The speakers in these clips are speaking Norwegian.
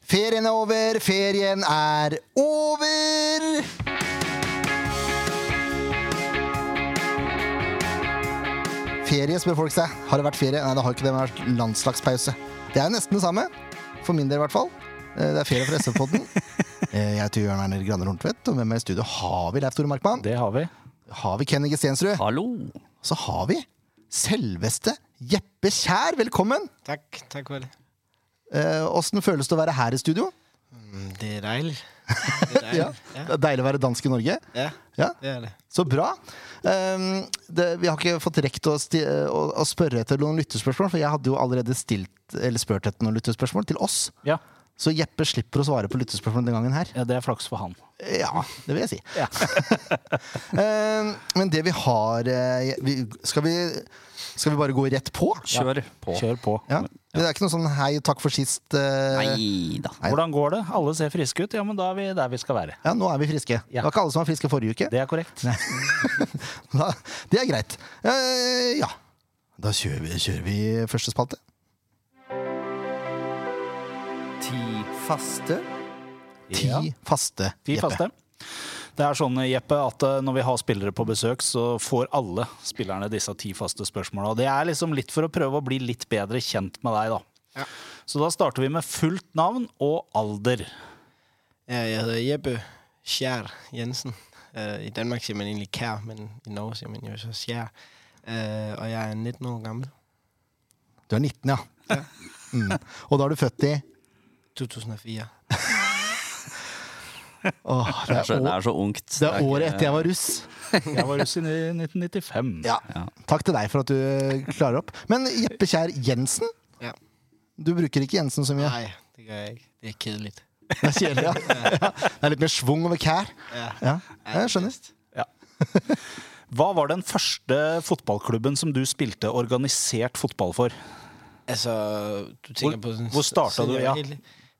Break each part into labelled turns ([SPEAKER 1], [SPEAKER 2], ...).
[SPEAKER 1] Ferien er over, ferien er over! Ferie, spør folk seg. Har det vært ferie? Nei, det har ikke det. men Det har vært landslagspause. Det er nesten det samme. For min del, i hvert fall. Eh, Det er ferie for SV-podden. Eh, Jeg heter Jørn Werner Graner Horntvedt, og med meg i studio har vi Leif Tore Markmann.
[SPEAKER 2] Det har vi.
[SPEAKER 1] Har vi Kenny Gestensrud.
[SPEAKER 2] Hallo.
[SPEAKER 1] Så har vi selveste Jeppe Kjær. Velkommen!
[SPEAKER 3] Takk. takk vel.
[SPEAKER 1] Eh, Åssen føles det å være her i studio?
[SPEAKER 3] Mm, Det er deilig. Det er deilig.
[SPEAKER 1] Ja.
[SPEAKER 3] Ja.
[SPEAKER 1] Det er Deilig å være dansk i Norge.
[SPEAKER 3] ja,
[SPEAKER 1] Ja,
[SPEAKER 3] det er det.
[SPEAKER 1] Så bra. Ehm, det, vi har ikke fått rekt å, sti, å, å spørre etter noen lyttespørsmål, for jeg hadde jo allerede stilt, eller spurt etter noen lyttespørsmål til oss.
[SPEAKER 2] Ja.
[SPEAKER 1] Så Jeppe slipper å svare på lyttespørsmål den gangen her.
[SPEAKER 2] ja, det er flaks for han.
[SPEAKER 1] Ja, det vil jeg si. Ehm, men det vi har eh, vi, skal, vi, skal vi bare gå rett på?
[SPEAKER 4] Kjør på.
[SPEAKER 2] Kjør på.
[SPEAKER 1] Ja. Det er ikke noe sånn 'hei, takk for sist'? eh,
[SPEAKER 4] Nei da.
[SPEAKER 2] Hvordan går det? Alle ser friske ut. Ja, men da er vi der vi skal være.
[SPEAKER 1] Ja, nå er vi friske. Det
[SPEAKER 2] Ja.
[SPEAKER 1] var ikke alle som var friske forrige uke.
[SPEAKER 2] Det er korrekt.
[SPEAKER 1] Da, det er greit. Eh, ja. Da kjører vi, kjører vi første spalte.
[SPEAKER 4] Ti faste.
[SPEAKER 1] Ti
[SPEAKER 2] Ja.
[SPEAKER 1] faste.
[SPEAKER 2] Ti
[SPEAKER 1] Jeppe.
[SPEAKER 2] faste. Det er sånn, Jeppe, at eh, når vi har spillere på besøk, så får alle spillerne disse ti faste spørsmåla. Det er liksom litt for å prøve å bli litt bedre kjent med deg, da.
[SPEAKER 3] Ja.
[SPEAKER 2] Så da starter vi med fullt navn og alder.
[SPEAKER 3] Ja, Jeg heter Jeppe Skjær Jensen. Eh, I Danmark sier man egentlig Kær, men i Norge sier man jo så Skjær. Eh, og jeg er 19 år gammel.
[SPEAKER 1] Du er 19, ja. Mm. Og da er du født i
[SPEAKER 3] 2004.
[SPEAKER 1] Åh, det,
[SPEAKER 4] Det
[SPEAKER 1] er
[SPEAKER 4] er, det
[SPEAKER 1] år,
[SPEAKER 4] er så ungt.
[SPEAKER 1] det er året etter jeg var russ.
[SPEAKER 2] Jeg var russ i 1995.
[SPEAKER 1] Ja.
[SPEAKER 4] Ja.
[SPEAKER 1] Takk til deg for at du klarer opp. Men Jeppe Kjær Jensen?
[SPEAKER 3] Ja.
[SPEAKER 1] Du bruker ikke Jensen så mye.
[SPEAKER 3] Nei, det gjør jeg ikke. Det er kjedelig.
[SPEAKER 1] Det er kjedelig, ja. ja. Det er litt mer svung over kær.
[SPEAKER 3] Ja.
[SPEAKER 1] Ja, jeg skjønner.
[SPEAKER 2] Hva var den første fotballklubben som du spilte organisert fotball for?
[SPEAKER 3] Altså, du tenker på sådan-
[SPEAKER 2] hvor starter du? Ja.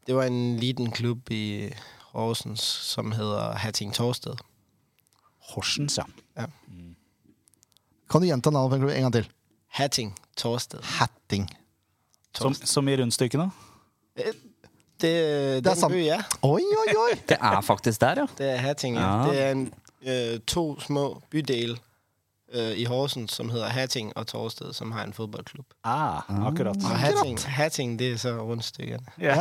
[SPEAKER 3] Det var en liten klubb i Horsens som hedder Hatting Torsted.
[SPEAKER 2] Horsens, ja.
[SPEAKER 1] Kan du gjenta navnet på en klubb en gang til?
[SPEAKER 3] Hatting Torsted.
[SPEAKER 1] Hatting.
[SPEAKER 2] Som, som i rundstykkene?
[SPEAKER 3] Eh, Det,
[SPEAKER 1] er
[SPEAKER 3] den
[SPEAKER 1] samme-
[SPEAKER 3] by, ja.
[SPEAKER 1] Oi, oi, oi!
[SPEAKER 4] Det er faktisk der, ja.
[SPEAKER 3] Det er Hatting, ja.
[SPEAKER 4] Ja.
[SPEAKER 3] Det er en, øh, to små bydele øh, i Horsens, som hedder Hatting og Torsted, som har en fodboldklub.
[SPEAKER 2] Ah, akkurat.
[SPEAKER 3] Og Hatting, Hatting, det er så rundstykkerne.
[SPEAKER 2] Ja.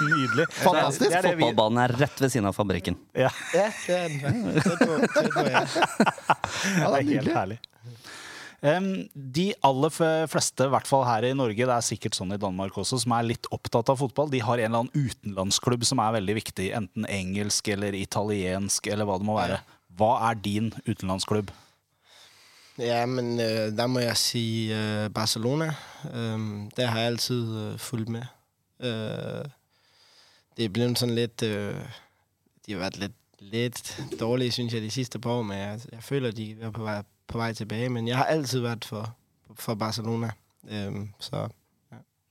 [SPEAKER 2] Nydelig.
[SPEAKER 1] Fantastisk.
[SPEAKER 2] Det er det vi-
[SPEAKER 4] Fotballbanen er rett ved siden av fabrikken.
[SPEAKER 2] Ja,
[SPEAKER 3] Ja, det er den. faktisk. Tæt på, tæt på, ja.
[SPEAKER 2] det er helt herlig. Em, de aller f- fleste, i hvert fall her i Norge, det er sikkert sånn i Danmark også, som er litt opptatt av fotball, de har en eller annen utenlandsklubb som er veldig viktig. Enten engelsk eller italiensk eller hva det må være. Hva er din utenlandsklubb?
[SPEAKER 3] Ja, men øh, der må jeg sige øh, Barcelona. Øhm, der har jeg altid øh, fulgt med. Øh, det er blevet sådan lidt... Øh, de har været lidt, lidt dårlige, synes jeg, de sidste par år, men jeg, jeg føler, de er på vej, på vej tilbage. Men jeg har altid været for, for Barcelona. Øhm, så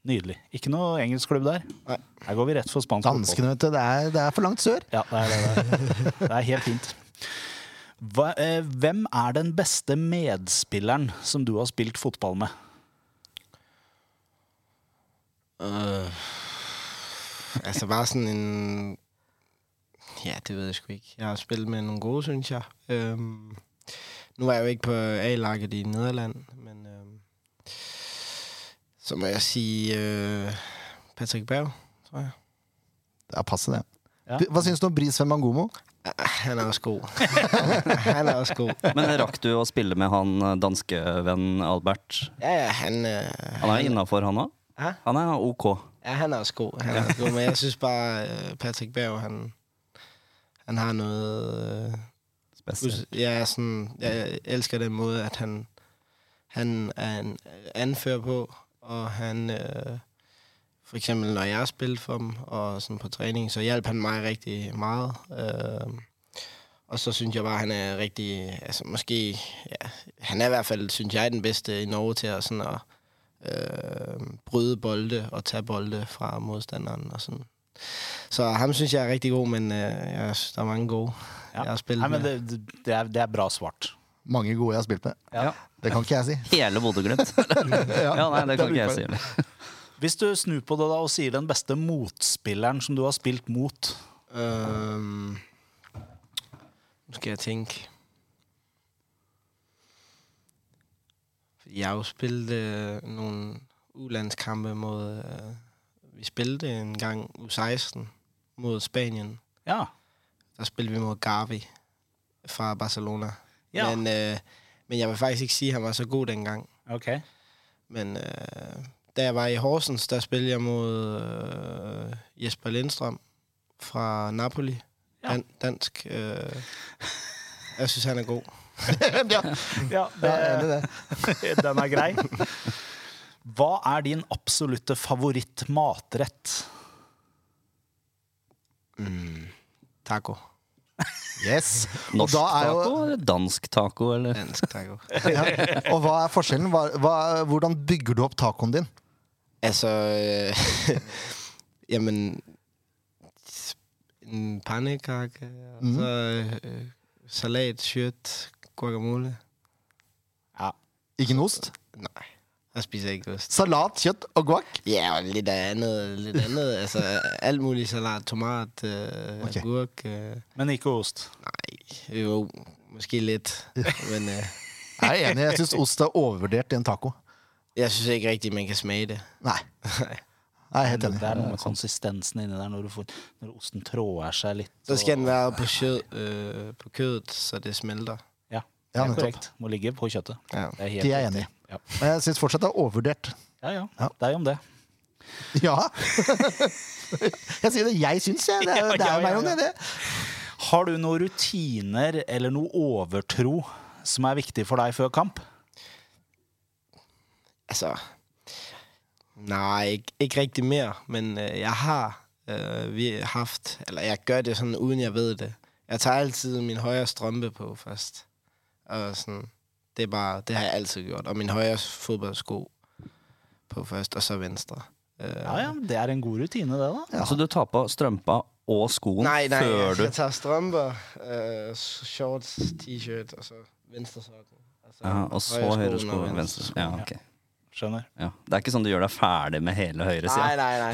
[SPEAKER 2] Nydelig. Ikke noe engelsk klubb der.
[SPEAKER 3] Nei.
[SPEAKER 2] Her går vi rett for spansk fotball.
[SPEAKER 1] Danskene, vet du. Det er, det er for langt sør.
[SPEAKER 2] Ja, det er, det, det er. Det er helt fint. Hva, eh, hvem er den beste medspilleren som du har spilt fotball med?
[SPEAKER 3] øh, altså bare sådan en... Ja, det ved jeg sgu ikke. Jeg har spillet med nogle gode, synes jeg. Øhm, nu er jeg jo ikke på A-laget i Nederland, men øhm, så må jeg sige øh, Patrick Berg, tror jeg.
[SPEAKER 1] Ja, passe det.
[SPEAKER 2] Ja.
[SPEAKER 1] Du, Hva syns du om Bris Fembangomo?
[SPEAKER 3] Ah, Han er også god. han er også god.
[SPEAKER 4] Men rakk du å spille med han eh, danskevennen Albert?
[SPEAKER 3] Ja, ja, han, øh,
[SPEAKER 4] Han er innafor, han òg?
[SPEAKER 3] Hæ?
[SPEAKER 4] Han er OK.
[SPEAKER 3] ja, han er også god. Han er også god. Men jeg synes bare, øh, Patrick Berg, han, han har noget... Øh,
[SPEAKER 4] Spesielt.
[SPEAKER 3] Plus, Jeg, er sådan, jeg elsker den måde, at han, han er en anfører på, og han, øh, for eksempel når jeg spillede for dem, og sådan på træning, så hjalp han mig rigtig meget. Øh, og så synes jeg bare, han er rigtig, altså måske, ja, han er i hvert fald, synes jeg, den bedste i Norge til at, sådan at øh, bryde bolde og tage bolde fra modstanderen og sådan. Så ham synes jeg er rigtig god, men øh, jeg synes, der er mange gode.
[SPEAKER 2] Ja.
[SPEAKER 3] Jeg har spillet
[SPEAKER 2] Nei, men
[SPEAKER 3] med.
[SPEAKER 2] det, det, er, det er bra svart.
[SPEAKER 1] Mange gode jeg har spilt med.
[SPEAKER 4] Ja.
[SPEAKER 1] Det kan ikke jeg si.
[SPEAKER 4] Hele Bodø-Glimt. ja, nei, det kan ikke jeg si. heller.
[SPEAKER 2] Hvis du snur på det da og sier den beste motspilleren som du har spilt mot
[SPEAKER 3] Øhm, Ehm, nu skal jeg tænke. Jeg har jo spillet øh, nogle ulandskampe mod... Øh, vi spillede en gang U16 mod Spanien.
[SPEAKER 2] Ja.
[SPEAKER 3] Der spillede vi mod Gavi fra Barcelona.
[SPEAKER 2] ja.
[SPEAKER 3] Men, øh, men jeg vil faktisk ikke sige, at han var så god dengang.
[SPEAKER 2] ok.
[SPEAKER 3] Men øh, da jeg var i Horsens, der spillede jeg mod øh, Jesper Lindstrøm fra Napoli.
[SPEAKER 2] Ja.
[SPEAKER 3] Dan dansk. Øh, jeg synes, han er god.
[SPEAKER 2] Ja,
[SPEAKER 1] Ja, jeg er enig i det.
[SPEAKER 2] den er grei. Hva er din absolutte favorittmatrett?
[SPEAKER 3] Taco.
[SPEAKER 1] Yes. Og
[SPEAKER 4] Norsk
[SPEAKER 1] da er
[SPEAKER 4] taco
[SPEAKER 1] jo
[SPEAKER 4] eller dansk taco? Eller?
[SPEAKER 3] Dansk taco.
[SPEAKER 1] ja. Og hva er forskjellen? Hva, hva, hvordan bygger du opp tacoen din?
[SPEAKER 3] altså, øh, jamen, en pandekake, mm.
[SPEAKER 1] Mhm.
[SPEAKER 3] så øh, salat, shirt, guacamole.
[SPEAKER 1] Ikke noe ost?
[SPEAKER 3] Nej, jeg spiser ikke ost.
[SPEAKER 1] Salat, kjøtt og guac?
[SPEAKER 3] Ja, og lidt af andet, lidt andet. altså, alt muligt salat, tomat, øh,
[SPEAKER 1] Okay.
[SPEAKER 3] okay. agurk. Øh,
[SPEAKER 2] Men ikke ost.
[SPEAKER 3] nej, jo, måske lidt. men øh,
[SPEAKER 1] Jeg er enig. Jeg syns ost er overvurdert i en taco.
[SPEAKER 3] jeg synes ikke rigtigt, man kan smage det.
[SPEAKER 1] Nei. Jeg er helt
[SPEAKER 2] Det
[SPEAKER 1] enig.
[SPEAKER 2] er noe med konsistensen inni der når, du får, når osten tråder seg litt.
[SPEAKER 3] Så skal
[SPEAKER 2] og-
[SPEAKER 3] den være på, sjød, øh, på kødet, så det smelter.
[SPEAKER 2] Ja, det
[SPEAKER 1] Ja,
[SPEAKER 2] er
[SPEAKER 1] nettopp.
[SPEAKER 2] korrekt. Må ligge på kjøttet.
[SPEAKER 3] Ja.
[SPEAKER 2] er helt
[SPEAKER 1] Det er jeg
[SPEAKER 2] riktig.
[SPEAKER 1] enig i.
[SPEAKER 2] Ja.
[SPEAKER 1] Men jeg syns fortsatt det er overvurdert.
[SPEAKER 2] Ja, ja,
[SPEAKER 1] Ja.
[SPEAKER 2] Det er jo om det.
[SPEAKER 1] Ja! Jeg sier det jeg syns, jeg. Det er,
[SPEAKER 2] Ja,
[SPEAKER 1] det
[SPEAKER 2] ja,
[SPEAKER 1] er meg
[SPEAKER 2] ja,
[SPEAKER 1] og
[SPEAKER 2] ja.
[SPEAKER 1] det.
[SPEAKER 2] Har du noen rutiner eller noe overtro som er viktig for deg før kamp?
[SPEAKER 3] Altså, nej, ikke, ikke rigtig mere, men øh, jeg har øh, vi haft, eller jeg gør det sådan, uden jeg ved det. Jeg tager altid min højre strømpe på først. Og sådan, det er bare, det har jeg altid gjort. Og min højre fodboldsko på først, og så venstre. Øh,
[SPEAKER 2] Ja, ja, Det er en god rutine, det, da.
[SPEAKER 4] Altså, du tar på strømpa og skoen
[SPEAKER 3] Nej, nej,
[SPEAKER 4] før
[SPEAKER 3] jeg,
[SPEAKER 4] du
[SPEAKER 3] jeg tager strømper, øh, shorts, t-shirt, altså og så venstre sokken. så
[SPEAKER 4] ja, Og så
[SPEAKER 3] højre
[SPEAKER 4] høyre
[SPEAKER 3] skoen
[SPEAKER 4] sko
[SPEAKER 3] og
[SPEAKER 4] og
[SPEAKER 3] venstre
[SPEAKER 4] venstre. Ja, ok.
[SPEAKER 2] Skjønner.
[SPEAKER 4] ja. Det er ikke sånn du gjør deg ferdig med hele høyre
[SPEAKER 3] Nej,
[SPEAKER 4] sida.
[SPEAKER 3] nej, nej.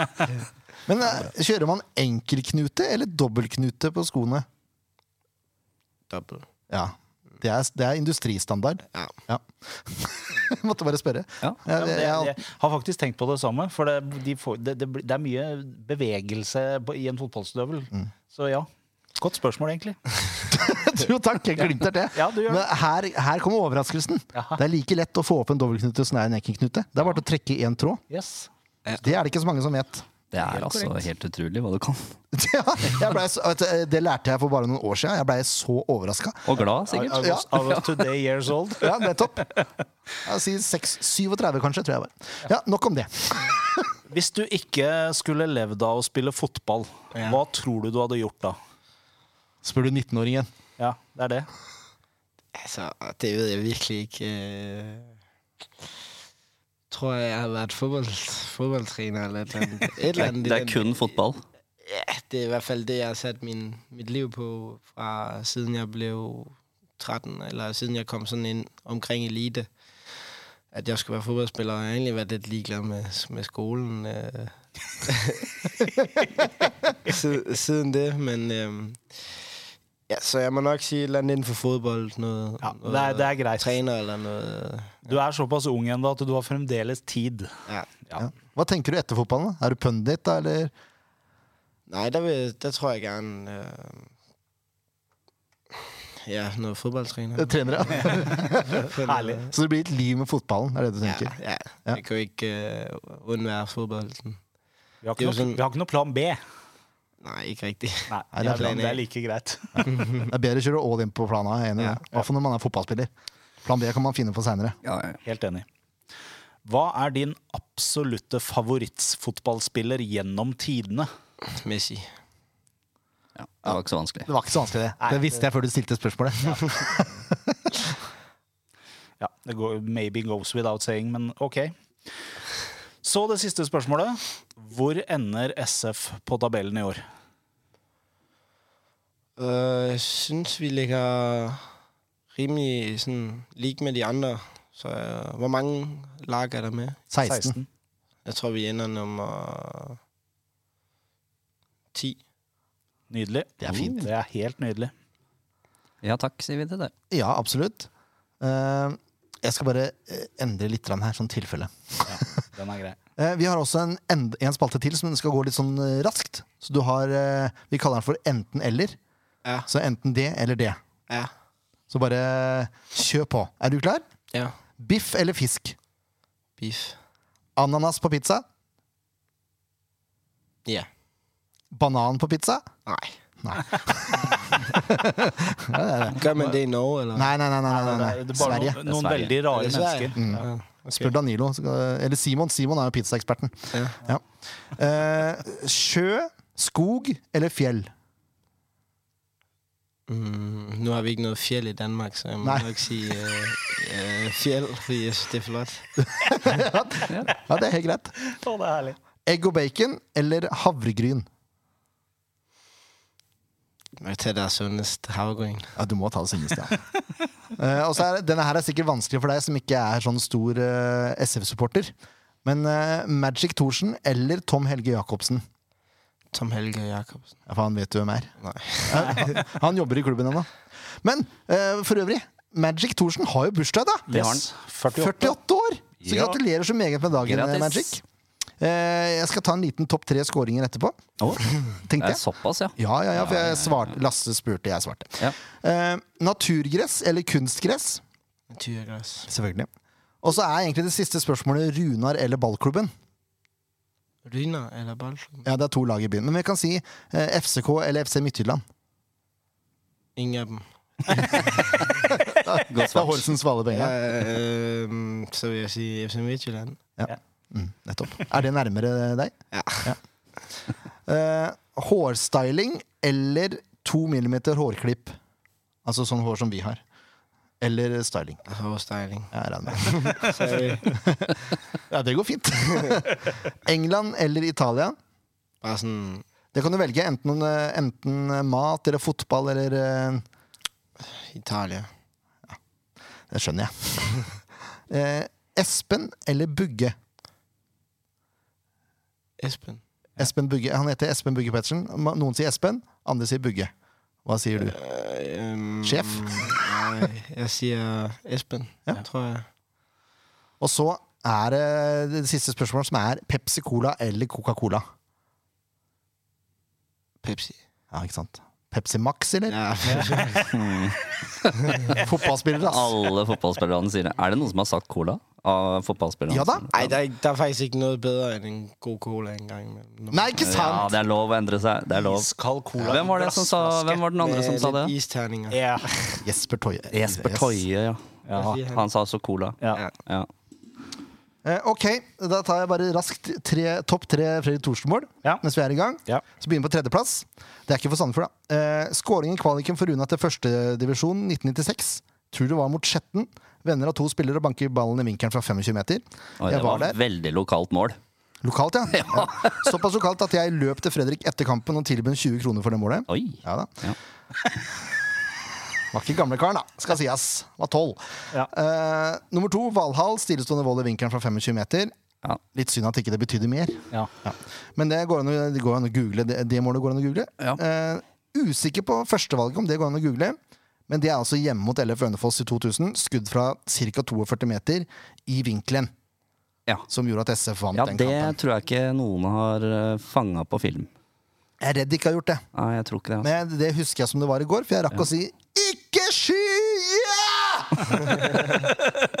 [SPEAKER 1] Men eh, kjører man enkelknute eller dobbeltknute på skoene?
[SPEAKER 3] Dobbelt.
[SPEAKER 1] Ja. Det er, det er industristandard.
[SPEAKER 3] Ja.
[SPEAKER 1] Måtte bare spørre.
[SPEAKER 4] Ja.
[SPEAKER 2] Ja, men
[SPEAKER 1] Jeg,
[SPEAKER 2] det,
[SPEAKER 1] jeg,
[SPEAKER 2] jeg har faktisk tenkt på det samme. For det, de får, det, det, blir- det er mye bevegelse på- i en fotballstøvel. Så ja. Godt spørsmål, egentlig.
[SPEAKER 1] jo, takk, jeg glimter det.
[SPEAKER 2] Ja, du gjør
[SPEAKER 1] Men
[SPEAKER 2] det.
[SPEAKER 1] her, her kommer overraskelsen.
[SPEAKER 2] Ja.
[SPEAKER 1] Det er like lett å få opp en dobbeltknute som det er en enkelknute. Det er bare til å trekke én tråd.
[SPEAKER 2] Yes.
[SPEAKER 1] Det er det ikke så mange som vet.
[SPEAKER 4] Det er altså helt utrolig hva du kan.
[SPEAKER 1] Ja, jeg ble så, vet du, det lærte jeg for bare noen år siden. Jeg blei så overraska.
[SPEAKER 4] Og glad,
[SPEAKER 2] I, I,
[SPEAKER 4] sikkert.
[SPEAKER 2] was, I was today years old.
[SPEAKER 1] Ja, nettopp. Jeg sier 6, 37, kanskje. tror jeg var. Ja, Nok om det.
[SPEAKER 2] Hvis du ikke skulle levd av å spille fotball, hva tror du du hadde gjort da?
[SPEAKER 1] Spør du 19-åringen.
[SPEAKER 2] Ja, det er det.
[SPEAKER 3] Altså, det ved jeg virkelig ikke. øh. Tror jeg, jeg har været fodbold, fodboldtræner eller et eller andet. Et
[SPEAKER 4] Det
[SPEAKER 3] eller
[SPEAKER 4] er,
[SPEAKER 3] andet i
[SPEAKER 4] det er
[SPEAKER 3] den-
[SPEAKER 4] kun fotball.
[SPEAKER 3] Ja, det er i hvert fald det, jeg har sat min, mit liv på, fra siden jeg blev 13, eller siden jeg kom sådan ind omkring elite. At jeg skulle være fodboldspiller, og jeg har egentlig været lidt ligeglad med, med skolen. Øh. Si- siden det, men... øhm, ja, så jeg må nok sige et eller andet inden for fodbold. Noget,
[SPEAKER 2] Ja,
[SPEAKER 3] noget
[SPEAKER 2] det er, det er greit.
[SPEAKER 3] træner eller noget.
[SPEAKER 2] Du er såpass ung ennå at du har fremdeles tid.
[SPEAKER 3] Ja.
[SPEAKER 1] Ja. Hva tenker du etter fotballen? da? Er du pundit, da, eller?
[SPEAKER 3] Nej, der, vil, der tror jeg gerne... Øh, ja, noget fodboldtræner.
[SPEAKER 1] Eh, Trener, ja.
[SPEAKER 3] På en-
[SPEAKER 2] Herlig.
[SPEAKER 1] Så det blir et liv med fotballen, er det du
[SPEAKER 3] Ja,
[SPEAKER 1] tenker?
[SPEAKER 3] ja.
[SPEAKER 1] Ja.
[SPEAKER 3] Jeg kan jo ikke øh, undvære fodbolden.
[SPEAKER 2] Vi har
[SPEAKER 3] Det er
[SPEAKER 2] ikke,
[SPEAKER 3] jo
[SPEAKER 2] noe,
[SPEAKER 3] sånn-
[SPEAKER 2] vi har ikke noe plan B.
[SPEAKER 3] Nej, ikke rigtigt.
[SPEAKER 2] Nei,
[SPEAKER 1] det er
[SPEAKER 2] det er,
[SPEAKER 3] plan
[SPEAKER 2] det er
[SPEAKER 3] A.
[SPEAKER 2] like greit.
[SPEAKER 1] Det er bedre å kjøre all in på plan A. jeg er enig i det. I hvert fall når man er fotballspiller. Plan B kan man finne på seinere.
[SPEAKER 4] Ja, ja.
[SPEAKER 2] Helt enig. Hva er din absolutte favorittfotballspiller gjennom tidene?
[SPEAKER 3] Messi.
[SPEAKER 4] ja. Det var ikke så vanskelig.
[SPEAKER 1] Det var ikke så vanskelig, det. Det visste jeg før du stilte spørsmålet.
[SPEAKER 2] Ja, det går, maybe goes without saying, men ok. Så det siste spørsmålet. Hvor ender SF på tabellen i år?
[SPEAKER 3] Øh, jeg synes, vi ligger rimelig sådan, league med de andre. Så øh, hvor mange lag er der med?
[SPEAKER 1] 16.
[SPEAKER 3] Jeg tror vi ender nummer ti.
[SPEAKER 2] Nydelig. Mm,
[SPEAKER 1] Det er fint.
[SPEAKER 2] Det er helt nydelig.
[SPEAKER 4] Ja takk, sier vi til det.
[SPEAKER 1] Ja, absolutt. Eh, jeg skal bare eh, endre litt grann her, sånn tilfelle.
[SPEAKER 2] Ja, den er grei.
[SPEAKER 1] Eh, vi har også en, end- en spalte til som skal gå litt sånn eh, raskt. Så du har eh, Vi kaller den for enten-eller.
[SPEAKER 3] Ja.
[SPEAKER 1] Så enten det eller det.
[SPEAKER 3] Ja.
[SPEAKER 1] Så bare eh, kjør på. Er du klar?
[SPEAKER 3] ja.
[SPEAKER 1] Biff eller fisk?
[SPEAKER 3] Beef.
[SPEAKER 1] Ananas på pizza?
[SPEAKER 3] Ja.
[SPEAKER 1] Banan på pizza?
[SPEAKER 3] Nei.
[SPEAKER 1] Nei.
[SPEAKER 3] Gør man det i Norge, eller?
[SPEAKER 1] Nei, nei, nei. nei, nei, nei.
[SPEAKER 2] Det er bare
[SPEAKER 1] Sverige. Mm.
[SPEAKER 2] noen, noen
[SPEAKER 4] Sverige.
[SPEAKER 2] veldig rare
[SPEAKER 3] Er det Sverige?
[SPEAKER 2] mennesker. Ja.
[SPEAKER 1] Spør Danilo. så skal- Eller Simon. Simon er jo pizzaeksperten.
[SPEAKER 3] Ja.
[SPEAKER 1] Ja. Eh, sjø, skog eller fjell?
[SPEAKER 3] Mm, nu har vi ikke noget fjell i Danmark, så jeg må
[SPEAKER 1] Nej.
[SPEAKER 3] nok sige øh, øh, fjell, fordi jeg synes, det er flot.
[SPEAKER 1] Ja, det er helt greit.
[SPEAKER 2] Å, det er herlig.
[SPEAKER 1] Egg og bacon eller havregryn?
[SPEAKER 3] Jeg tager deres sundest havgryn.
[SPEAKER 1] Ja, du må ta det sunneste. Ja. Eh, og så er det- denne her er sikkert vanskelig for deg som ikke er sånn stor eh, SF-supporter. Men eh, Magic Thorsen eller Tom Helge Jacobsen?
[SPEAKER 3] Tom Helge Jacobsen.
[SPEAKER 1] Ja, for han vet du hvem er.
[SPEAKER 3] Nei.
[SPEAKER 1] han, han jobber i klubben ennå. Men eh, for øvrig, Magic Thorsen har jo bursdag, da!
[SPEAKER 4] Det har han.
[SPEAKER 2] Yes. 48.
[SPEAKER 1] 48 år! Så
[SPEAKER 4] Ja.
[SPEAKER 1] gratulerer så meget med dagen, eh,
[SPEAKER 4] Grattis.
[SPEAKER 1] Magic. Eh, jeg skal ta en liten topp tre skåringer etterpå,
[SPEAKER 4] Å, det
[SPEAKER 1] tenkte
[SPEAKER 4] er
[SPEAKER 1] jeg.
[SPEAKER 4] såpass, ja.
[SPEAKER 1] Ja, ja, ja, for jeg svarte, Lasse spurte, jeg svarte.
[SPEAKER 4] ja.
[SPEAKER 1] Eh, naturgress eller kunstgress?
[SPEAKER 3] Tyrgræs.
[SPEAKER 1] Selvfølgelig. Og så er egentlig det siste spørsmålet Runar eller ballklubben.
[SPEAKER 3] Ryner eller boldklubben?
[SPEAKER 1] Ja, det er to lag i byen. Men vi kan si eh, FCK eller FC Midtjylland.
[SPEAKER 3] Ingen af dem.
[SPEAKER 4] Godt
[SPEAKER 1] Det er
[SPEAKER 4] svart.
[SPEAKER 1] Horsens Svale
[SPEAKER 3] Ja.
[SPEAKER 1] Benga.
[SPEAKER 3] Øh, øh, så vil jeg sige FC Midtjylland.
[SPEAKER 1] Mm, nettopp. Er det nærmere deg?
[SPEAKER 3] Ja.
[SPEAKER 1] Eh, hårstyling eller to millimeter hårklipp? Altså sånn hår som vi har. Eller styling.
[SPEAKER 3] Hårstyling.
[SPEAKER 1] Jeg regner med.
[SPEAKER 3] Sorry.
[SPEAKER 1] Ja, det går fint. England eller Italia?
[SPEAKER 3] Bare sådan
[SPEAKER 1] Det kan du velge. Enten, eh, enten mat eller fotball eller eh,
[SPEAKER 3] Italia.
[SPEAKER 1] Det skjønner jeg. eh, Espen eller Bugge?
[SPEAKER 3] Espen.
[SPEAKER 1] Espen Bugge. Han heter Espen Bugge Pettersen. Ma- Noen sier Espen, andre sier Bugge. Hva sier
[SPEAKER 4] Eh.
[SPEAKER 1] du?
[SPEAKER 3] Øh, øhm,
[SPEAKER 1] Chef?
[SPEAKER 3] Nej, jeg siger Espen,
[SPEAKER 1] Ja.
[SPEAKER 3] tror jeg.
[SPEAKER 1] Og så er det det siste spørsmålet, som er Pepsi Cola eller Coca-Cola.
[SPEAKER 3] Pepsi.
[SPEAKER 1] Ja, ikke sant? Pepsi Max, eller?
[SPEAKER 3] Ja,
[SPEAKER 1] Fotballspillere, ass.
[SPEAKER 4] Alle fotballspillerne sier det. Er det noen som har sagt cola? Av fotballspillerne?
[SPEAKER 1] Ja da.
[SPEAKER 3] Ej, der, er ikke- der er faktisk ikke noget bedre end en god cola en gang imellem.
[SPEAKER 1] Nei, ikke
[SPEAKER 4] Ja,
[SPEAKER 1] sant!
[SPEAKER 4] det er lov å endre seg. Det er lov.
[SPEAKER 2] Iskald cola.
[SPEAKER 4] Hvem var, det som sa, hvem var den andre som sa det?
[SPEAKER 3] Med lidt isterninger.
[SPEAKER 2] Ja.
[SPEAKER 1] Jesper Toje.
[SPEAKER 4] Jesper Toie, ja.
[SPEAKER 2] Ja.
[SPEAKER 3] Ja.
[SPEAKER 4] Han sa også cola.
[SPEAKER 2] Ja.
[SPEAKER 4] Ja.
[SPEAKER 1] Eh, ok, da tar jeg bare raskt tre, topp tre Fredrik Thorsen-mål
[SPEAKER 2] Ja.
[SPEAKER 1] mens vi er i gang.
[SPEAKER 2] Ja.
[SPEAKER 1] Så begynner vi på tredjeplass. Det er ikke for Sandefjord, da. Eh, Skåringen i kvaliken for Runa til førstedivisjon 1996. Tror det var mot Skjetten. Venner av to spillere banker ballen i vinkelen fra 25 meter.
[SPEAKER 4] Oi, det
[SPEAKER 1] jeg var
[SPEAKER 4] var
[SPEAKER 1] der.
[SPEAKER 4] veldig lokalt mål.
[SPEAKER 1] Lokalt, ja. ja. Såpass lokalt at jeg løp til Fredrik etter kampen og tilbød ham 20 kroner for det målet.
[SPEAKER 4] Oi.
[SPEAKER 1] Ja da.
[SPEAKER 4] Ja.
[SPEAKER 1] Var ikke gamlekaren, da. Skal sies. Var tolv.
[SPEAKER 2] Ja.
[SPEAKER 1] Eh, nummer to, Valhall. Stillestående vold i vinkelen fra 25 meter.
[SPEAKER 4] Ja.
[SPEAKER 1] Litt synd at ikke det betydde mer.
[SPEAKER 2] Ja.
[SPEAKER 1] Men det går an å, det går an å google. Det, det målet går an å google.
[SPEAKER 4] Ja.
[SPEAKER 1] Eh, usikker på førstevalget om det går an å google. Men det er altså hjemme mot LF Ønefoss i 2000. Skudd fra ca. 42 meter i vinkelen.
[SPEAKER 4] Ja.
[SPEAKER 1] Som gjorde at SF vant
[SPEAKER 4] Ja,
[SPEAKER 1] den
[SPEAKER 4] det
[SPEAKER 1] kampen.
[SPEAKER 4] tror jeg ikke noen har fanga på film.
[SPEAKER 1] Jeg er redd de ikke har gjort det.
[SPEAKER 4] Nei, jeg tror ikke det. altså,
[SPEAKER 1] Men jeg- det husker jeg som det var i går, for jeg rakk å si 'ikke sky'!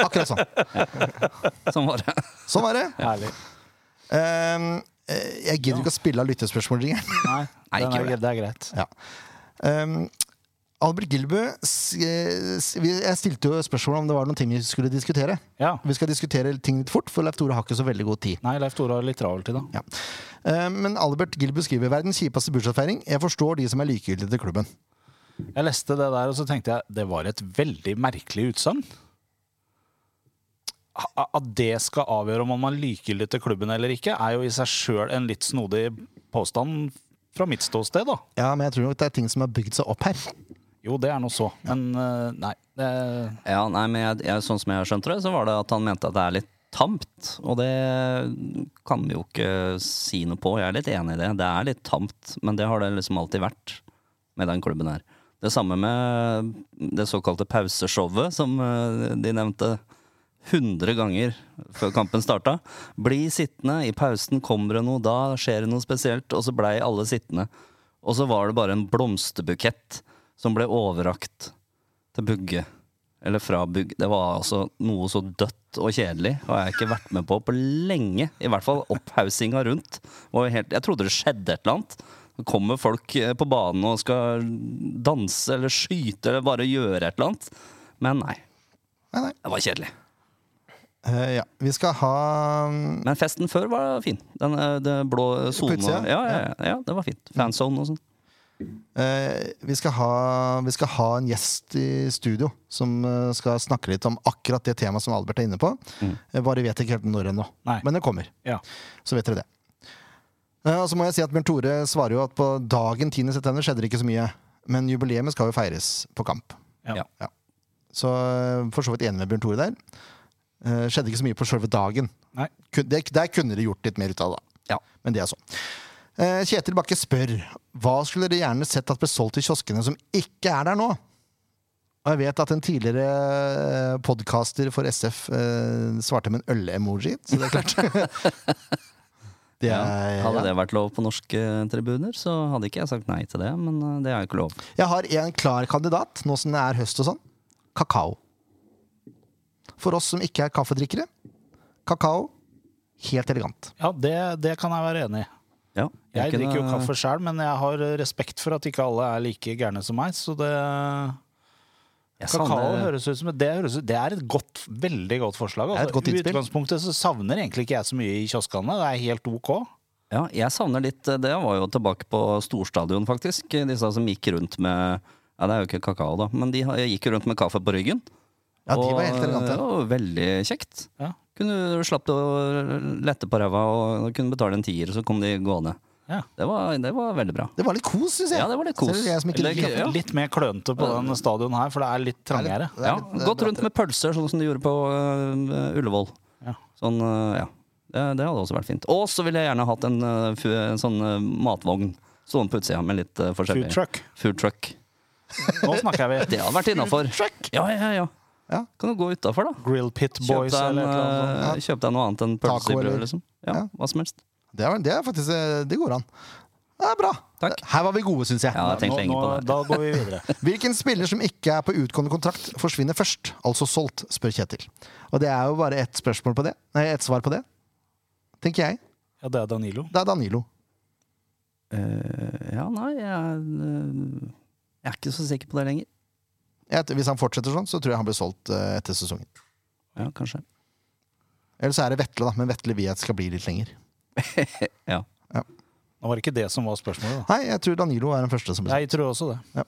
[SPEAKER 1] Akkurat sånn.
[SPEAKER 4] Altså. Sånn var det.
[SPEAKER 1] Sånn var det.
[SPEAKER 2] Herlig.
[SPEAKER 1] Ehm, eh, jeg gidder ikke å spille av lyttespørsmålringen.
[SPEAKER 2] Nei,
[SPEAKER 4] Nei,
[SPEAKER 2] den
[SPEAKER 4] ikke
[SPEAKER 2] er,
[SPEAKER 4] gjør det.
[SPEAKER 2] det er greit.
[SPEAKER 1] Um, Albert Gilbu, s- eh, s- vi- jeg stilte jo spørsmål om det var noen ting vi skulle diskutere.
[SPEAKER 2] Ja.
[SPEAKER 1] Vi skal diskutere ting litt fort, for Leif Tore har ikke så veldig god tid.
[SPEAKER 2] Nei, Leif Tore har litt travelt i dag.
[SPEAKER 1] Ja. Eh, Men Albert Gilbu skriver verdens kjipeste bursdagsfeiring. Jeg forstår de som er likegyldige til klubben.
[SPEAKER 2] Jeg leste det der, og så tenkte jeg det var et veldig merkelig utsagn. A- a- At det skal avgjøre om man er likegyldig til klubben eller ikke, er jo i seg sjøl en litt snodig påstand fra mitt ståsted, da.
[SPEAKER 1] Ja, men jeg tror nok det er ting som har bygd seg opp her.
[SPEAKER 2] Jo, det er nå så, men eh, nei. Det,
[SPEAKER 4] Ja, nei, men jeg, jeg, Sånn som jeg skjønte det, så var det at han mente at det er litt tamt, og det kan vi jo ikke si noe på. Jeg er litt enig i det. Det er litt tamt, men det har det liksom alltid vært med den klubben her. Det samme med det såkalte pauseshowet som eh, de nevnte 100 ganger før kampen starta. Bli sittende, i pausen kommer det noe, da skjer det noe spesielt, og så blei alle sittende. Og så var det bare en blomsterbukett som ble overrakt til Bugge. Eller fra Bugge. Det var altså noe så dødt og kjedelig har jeg ikke vært med på på lenge. I hvert fall opphaussinga rundt. Og helt, jeg trodde det skjedde et eller annet. Så kommer folk eh, på banen og skal danse eller skyte eller bare gjøre et eller annet. Men nei.
[SPEAKER 1] Nei, nei.
[SPEAKER 4] Det var kjedelig.
[SPEAKER 1] Eh, ja. Vi skal ha mm,
[SPEAKER 4] Men festen før var fin. Den, eh, det blå sona. Ja,
[SPEAKER 1] utsida?
[SPEAKER 4] ja, ja, ja, det var fint. Fanzone og sånn.
[SPEAKER 1] eh, vi, skal ha, vi skal ha en gjest i studio som eh, skal snakke litt om akkurat det temaet som Albert er inne på. Jeg bare vet ikke helt når ennå.
[SPEAKER 2] Nei.
[SPEAKER 1] Men det kommer.
[SPEAKER 2] Ja.
[SPEAKER 1] Så vet dere det. Eh, Og så må jeg si at Bjørn Tore svarer jo at på dagen 10. september skjedde det ikke så mye. Men jubileet skal jo feires på kamp.
[SPEAKER 2] Ja.
[SPEAKER 4] Ja.
[SPEAKER 1] Så eh, for så vidt enig med Bjørn Tore der. Eh, Skjedde ikke så mye på selve dagen.
[SPEAKER 2] Nei.
[SPEAKER 1] Kun- det- Der kunne de gjort litt mer ut av det, da.
[SPEAKER 4] Ja.
[SPEAKER 1] Men det er sånn. Eh, Kjetil Bakke spør hva skulle dere gjerne sett at ble solgt til kioskene som ikke er der nå? Og jeg vet at en tidligere podkaster for SF eh, svarte med en øl-emoji, så det er klart. det
[SPEAKER 4] Ja.
[SPEAKER 1] er,
[SPEAKER 4] Hadde
[SPEAKER 1] ja.
[SPEAKER 4] det vært lov på norske tribuner, så hadde ikke jeg sagt nei til det. Men eh, det er jo ikke lov.
[SPEAKER 1] Jeg har en klar kandidat, nå som det er høst og sånn. Kakao. For oss som ikke er kaffedrikkere. Kakao. Helt elegant.
[SPEAKER 2] Ja, det, det kan jeg være enig i.
[SPEAKER 4] Ja,
[SPEAKER 2] Jeg
[SPEAKER 4] kunne-
[SPEAKER 2] drikker jo kaffe sjøl, men jeg har respekt for at ikke alle er like gærne som meg. Så det
[SPEAKER 4] Jeg
[SPEAKER 2] Kakao
[SPEAKER 4] savner-
[SPEAKER 2] høres ut som et, det, høres ut, det er et godt, veldig godt forslag.
[SPEAKER 1] er et
[SPEAKER 2] Altså.
[SPEAKER 1] godt
[SPEAKER 2] I
[SPEAKER 1] innspill.
[SPEAKER 2] utgangspunktet så savner egentlig ikke jeg så mye i kioskene. Det er helt OK.
[SPEAKER 4] Ja, jeg savner litt eh, Det var jo tilbake på storstadion, faktisk. Disse som gikk rundt med Ja, det er jo ikke kakao, da, men de har- gikk jo rundt med kaffe på ryggen.
[SPEAKER 1] Ja, de var helt elegante.
[SPEAKER 4] Det var veldig kjekt.
[SPEAKER 2] Ja.
[SPEAKER 4] Kunne, du slapp å lette på ræva og kunne betale en tier, så kom de gående.
[SPEAKER 2] Ja.
[SPEAKER 4] Det, var, det var veldig bra.
[SPEAKER 1] Det var litt kos, syns jeg.
[SPEAKER 4] Ja, det var litt kos.
[SPEAKER 1] Selv jeg som ikke
[SPEAKER 4] Eller-
[SPEAKER 1] liker kaffe.
[SPEAKER 4] Ja.
[SPEAKER 2] Litt mer klønete på den stadion her, for det er litt trangere.
[SPEAKER 1] Det er
[SPEAKER 4] Ja,
[SPEAKER 1] litt- det er
[SPEAKER 4] Gått
[SPEAKER 1] bra.
[SPEAKER 4] rundt med pølser, sånn som de gjorde på øh, Ullevål.
[SPEAKER 2] Ja.
[SPEAKER 4] Sånn, øh, ja. Det, det hadde også vært fint. Og så ville jeg gjerne hatt en, øh, fu- en sånn øh, matvogn stående på utsida med litt
[SPEAKER 2] Food
[SPEAKER 4] øh, forskjellig
[SPEAKER 2] truck.
[SPEAKER 4] Food truck.
[SPEAKER 2] Nå snakker vi.
[SPEAKER 4] Det hadde vært innafor. Ja, ja, ja,
[SPEAKER 1] Ja.
[SPEAKER 4] Kan du gå utafor, da?
[SPEAKER 2] Grill Pit
[SPEAKER 4] Kjøp
[SPEAKER 2] Boys
[SPEAKER 4] deg, en,
[SPEAKER 2] eller et eller annet sånt.
[SPEAKER 4] øh, kjøp deg noe annet enn pølse
[SPEAKER 1] Taco
[SPEAKER 4] i brød,
[SPEAKER 1] eller-
[SPEAKER 4] liksom. Ja,
[SPEAKER 1] Ja.
[SPEAKER 4] Hva som helst.
[SPEAKER 1] Det, er, det er faktisk eh, Det går an. Det er bra.
[SPEAKER 4] Takk.
[SPEAKER 1] Her var vi gode, syns jeg.
[SPEAKER 4] Ja, jeg har tenkt
[SPEAKER 2] Nå,
[SPEAKER 4] lenge
[SPEAKER 2] nå,
[SPEAKER 4] på det.
[SPEAKER 2] da går vi videre.
[SPEAKER 1] Hvilken spiller som ikke er på utgående kontrakt, forsvinner først? Altså solgt, spør Kjetil. Og det er jo bare ett spørsmål på det. Nei, ett svar på det. Tenker jeg.
[SPEAKER 2] Ja, det er Danilo.
[SPEAKER 1] Det er Danilo.
[SPEAKER 4] Eh, ja, nei, jeg, øh, jeg er ikke så sikker på det lenger.
[SPEAKER 1] Jeg, hvis han fortsetter sånn, så tror jeg han blir solgt eh, etter sesongen.
[SPEAKER 4] Ja, kanskje.
[SPEAKER 1] Eller så er det Vetle, da. Men Vetle vil jeg skal bli litt lenger.
[SPEAKER 4] Ja.
[SPEAKER 2] Nå var det ikke det som var spørsmålet, da.
[SPEAKER 1] Nei, jeg tror Danilo er den første som blir solgt.
[SPEAKER 2] Jeg tror også det.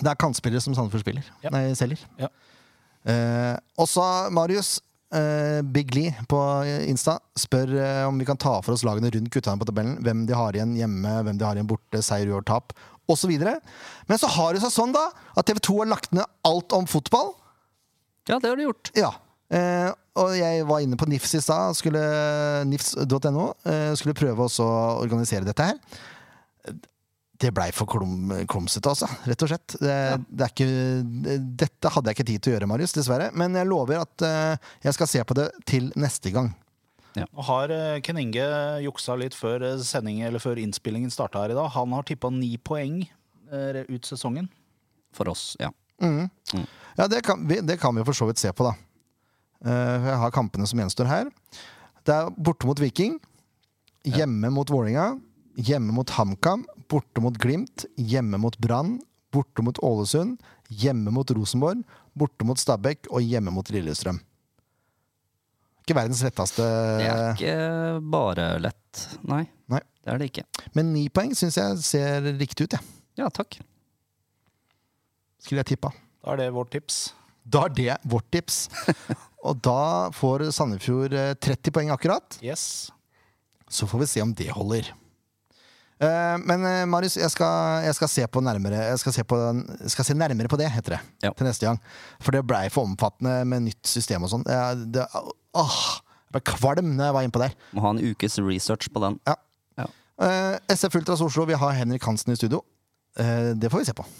[SPEAKER 1] Det er kantspillere som Sandefjord spiller.
[SPEAKER 2] Ja.
[SPEAKER 1] Nei, selger.
[SPEAKER 2] Ja.
[SPEAKER 1] Eh, også Marius eh, Big Lee på Insta spør eh, om vi kan ta for oss lagene rundt guttene på tabellen. Hvem de har igjen hjemme, hvem de har igjen borte, seier, uavgjort, tap osv. Men så har det seg sånn da at TV 2 har lagt ned alt om fotball.
[SPEAKER 4] ja, det har du gjort.
[SPEAKER 1] Ja. Eh, og jeg var inne på NIFS i stad. skulle- NIFS.no. Eh, skulle prøve også å organisere dette her. Det blei for klum, klumsete, altså. Rett og slett. Det, det er ikke, dette hadde jeg ikke tid til å gjøre, Marius, dessverre. Men jeg lover at eh, jeg skal se på det til neste gang.
[SPEAKER 2] Nå har eh, Ken Inge juksa litt før eh, sending, eller før innspillingen starta her i dag. Han har tippa ni poeng eh, ut sesongen.
[SPEAKER 4] For oss, ja.
[SPEAKER 1] Mhm. Ja, det kan, vi, det kan vi jo for så vidt se på, da. Eh, jeg har kampene som gjenstår her. Det er borte mot Viking, hjemme mot Vålinga, hjemme mot HamKam, borte mot Glimt, hjemme mot Brann, borte mot Ålesund, hjemme mot Rosenborg, borte mot Stabæk og hjemme mot Lillestrøm. Ikke verdens letteste,
[SPEAKER 4] Det er ikke bare lett. Nei,
[SPEAKER 1] Eh, Nei.
[SPEAKER 4] det er det ikke.
[SPEAKER 1] men ni poeng syns jeg ser riktig ut, jeg.
[SPEAKER 4] Ja, takk.
[SPEAKER 1] Skulle jeg tippa.
[SPEAKER 2] Da er det vårt tips.
[SPEAKER 1] Da er det vårt tips. Og da får Sandefjord eh, 30 poeng akkurat.
[SPEAKER 2] Yes.
[SPEAKER 1] Så får vi se om det holder. Eh, men eh, Marius, jeg skal, jeg skal se på nærmere Jeg skal se, på, den- skal se nærmere på det, heter det.
[SPEAKER 4] Ja.
[SPEAKER 1] Til neste gang. For det blei for omfattende med nytt system og sånn. Jeg, det- åh, jeg ble kvalm når jeg var innpå der.
[SPEAKER 4] Må ha en ukes research på den.
[SPEAKER 1] Ja.
[SPEAKER 4] Ja.
[SPEAKER 1] Eh, SF Ultras Oslo, vi har Henrik Hansen i studio. Eh, det får vi se på.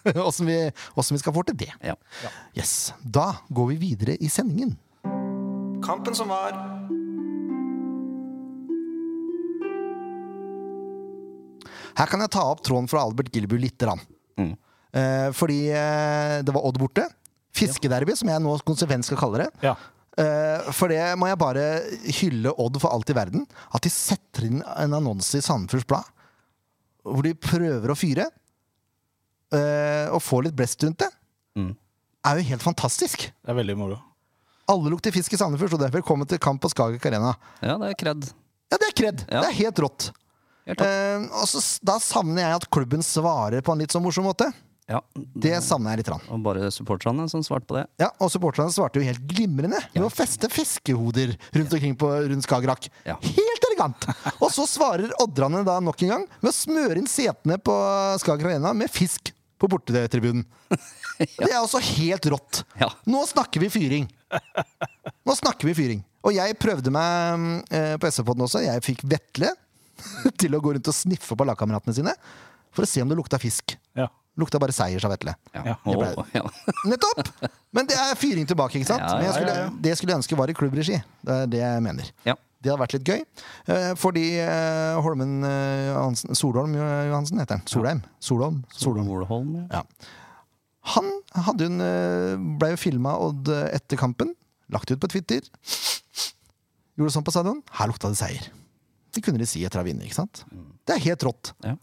[SPEAKER 1] Åssen vi, hvordan vi skal få til det.
[SPEAKER 4] Ja.
[SPEAKER 1] Yes. Da går vi videre i sendingen.
[SPEAKER 2] Kampen som var.
[SPEAKER 1] Her kan jeg ta opp tråden fra Albert Gilbu lite grann.
[SPEAKER 4] Mm.
[SPEAKER 1] Eh, fordi eh, det var Odd borte. Fiskederby, som jeg nå konsekvent skal kalle det.
[SPEAKER 2] Ja.
[SPEAKER 1] Eh, for det må jeg bare hylle Odd for alt i verden. At de setter inn en annonse i Sandefjords Blad hvor de prøver å fyre. eh, og får litt blest rundt det.
[SPEAKER 4] Mm.
[SPEAKER 1] Er jo helt fantastisk!
[SPEAKER 2] Det er veldig moro.
[SPEAKER 1] Alle lukter fisk i Sandefjord, og derfor kommer til kamp på Skagek Arena.
[SPEAKER 4] ja, det er kred.
[SPEAKER 1] Ja, det er kred!
[SPEAKER 4] Ja.
[SPEAKER 1] Det er helt rått.
[SPEAKER 4] Helt topp.
[SPEAKER 1] Eh, og så, s- da savner jeg at klubben svarer på en litt sånn morsom måte.
[SPEAKER 4] Ja.
[SPEAKER 1] Det
[SPEAKER 4] Mm.
[SPEAKER 1] savner jeg litt. Rann.
[SPEAKER 4] Og bare supporterne som svarte på det.
[SPEAKER 1] Ja, og supporterne svarte jo helt glimrende med å feste fiskehoder rundt omkring på rundt Skagerrak.
[SPEAKER 4] Ja.
[SPEAKER 1] Helt elegant! Og så svarer oddrene da nok en gang med å smøre inn setene på Skagerrak Arena med fisk på bortetribunen. Det er også helt rått.
[SPEAKER 4] Ja.
[SPEAKER 1] Nå snakker vi fyring. Nå snakker vi fyring. Og jeg prøvde meg mm, eh, på SV-podden også. Jeg fikk Vetle til å gå rundt og sniffe på lagkameratene sine for å se om det lukta fisk.
[SPEAKER 2] Ja.
[SPEAKER 1] Lukta bare seier, sa Vetle.
[SPEAKER 2] Ja,
[SPEAKER 4] Åh,
[SPEAKER 1] det ble-
[SPEAKER 4] ja.
[SPEAKER 1] Nettopp! Men det er fyring tilbake, ikke sant?
[SPEAKER 4] Ja, ja,
[SPEAKER 1] Men jeg skulle,
[SPEAKER 2] ja, ja.
[SPEAKER 1] det skulle jeg ønske var i klubbregi. Det er det jeg mener.
[SPEAKER 4] ja.
[SPEAKER 1] Det hadde vært litt gøy. Eh, Fordi eh, Holmen eh, Johansen, Solholm Jo- Johansen heter han. Solheim. Solholm. Solholm.
[SPEAKER 4] Solholm, ja.
[SPEAKER 1] Ja. Han hadde hun, eh, ble jo filma Odd eh, etter kampen. Lagt ut på Twitter. Gjorde sånn på stadion. Her lukta det seier. Det kunne de si etter å ha vunnet. ikke sant? Det er helt rått.
[SPEAKER 4] Ja.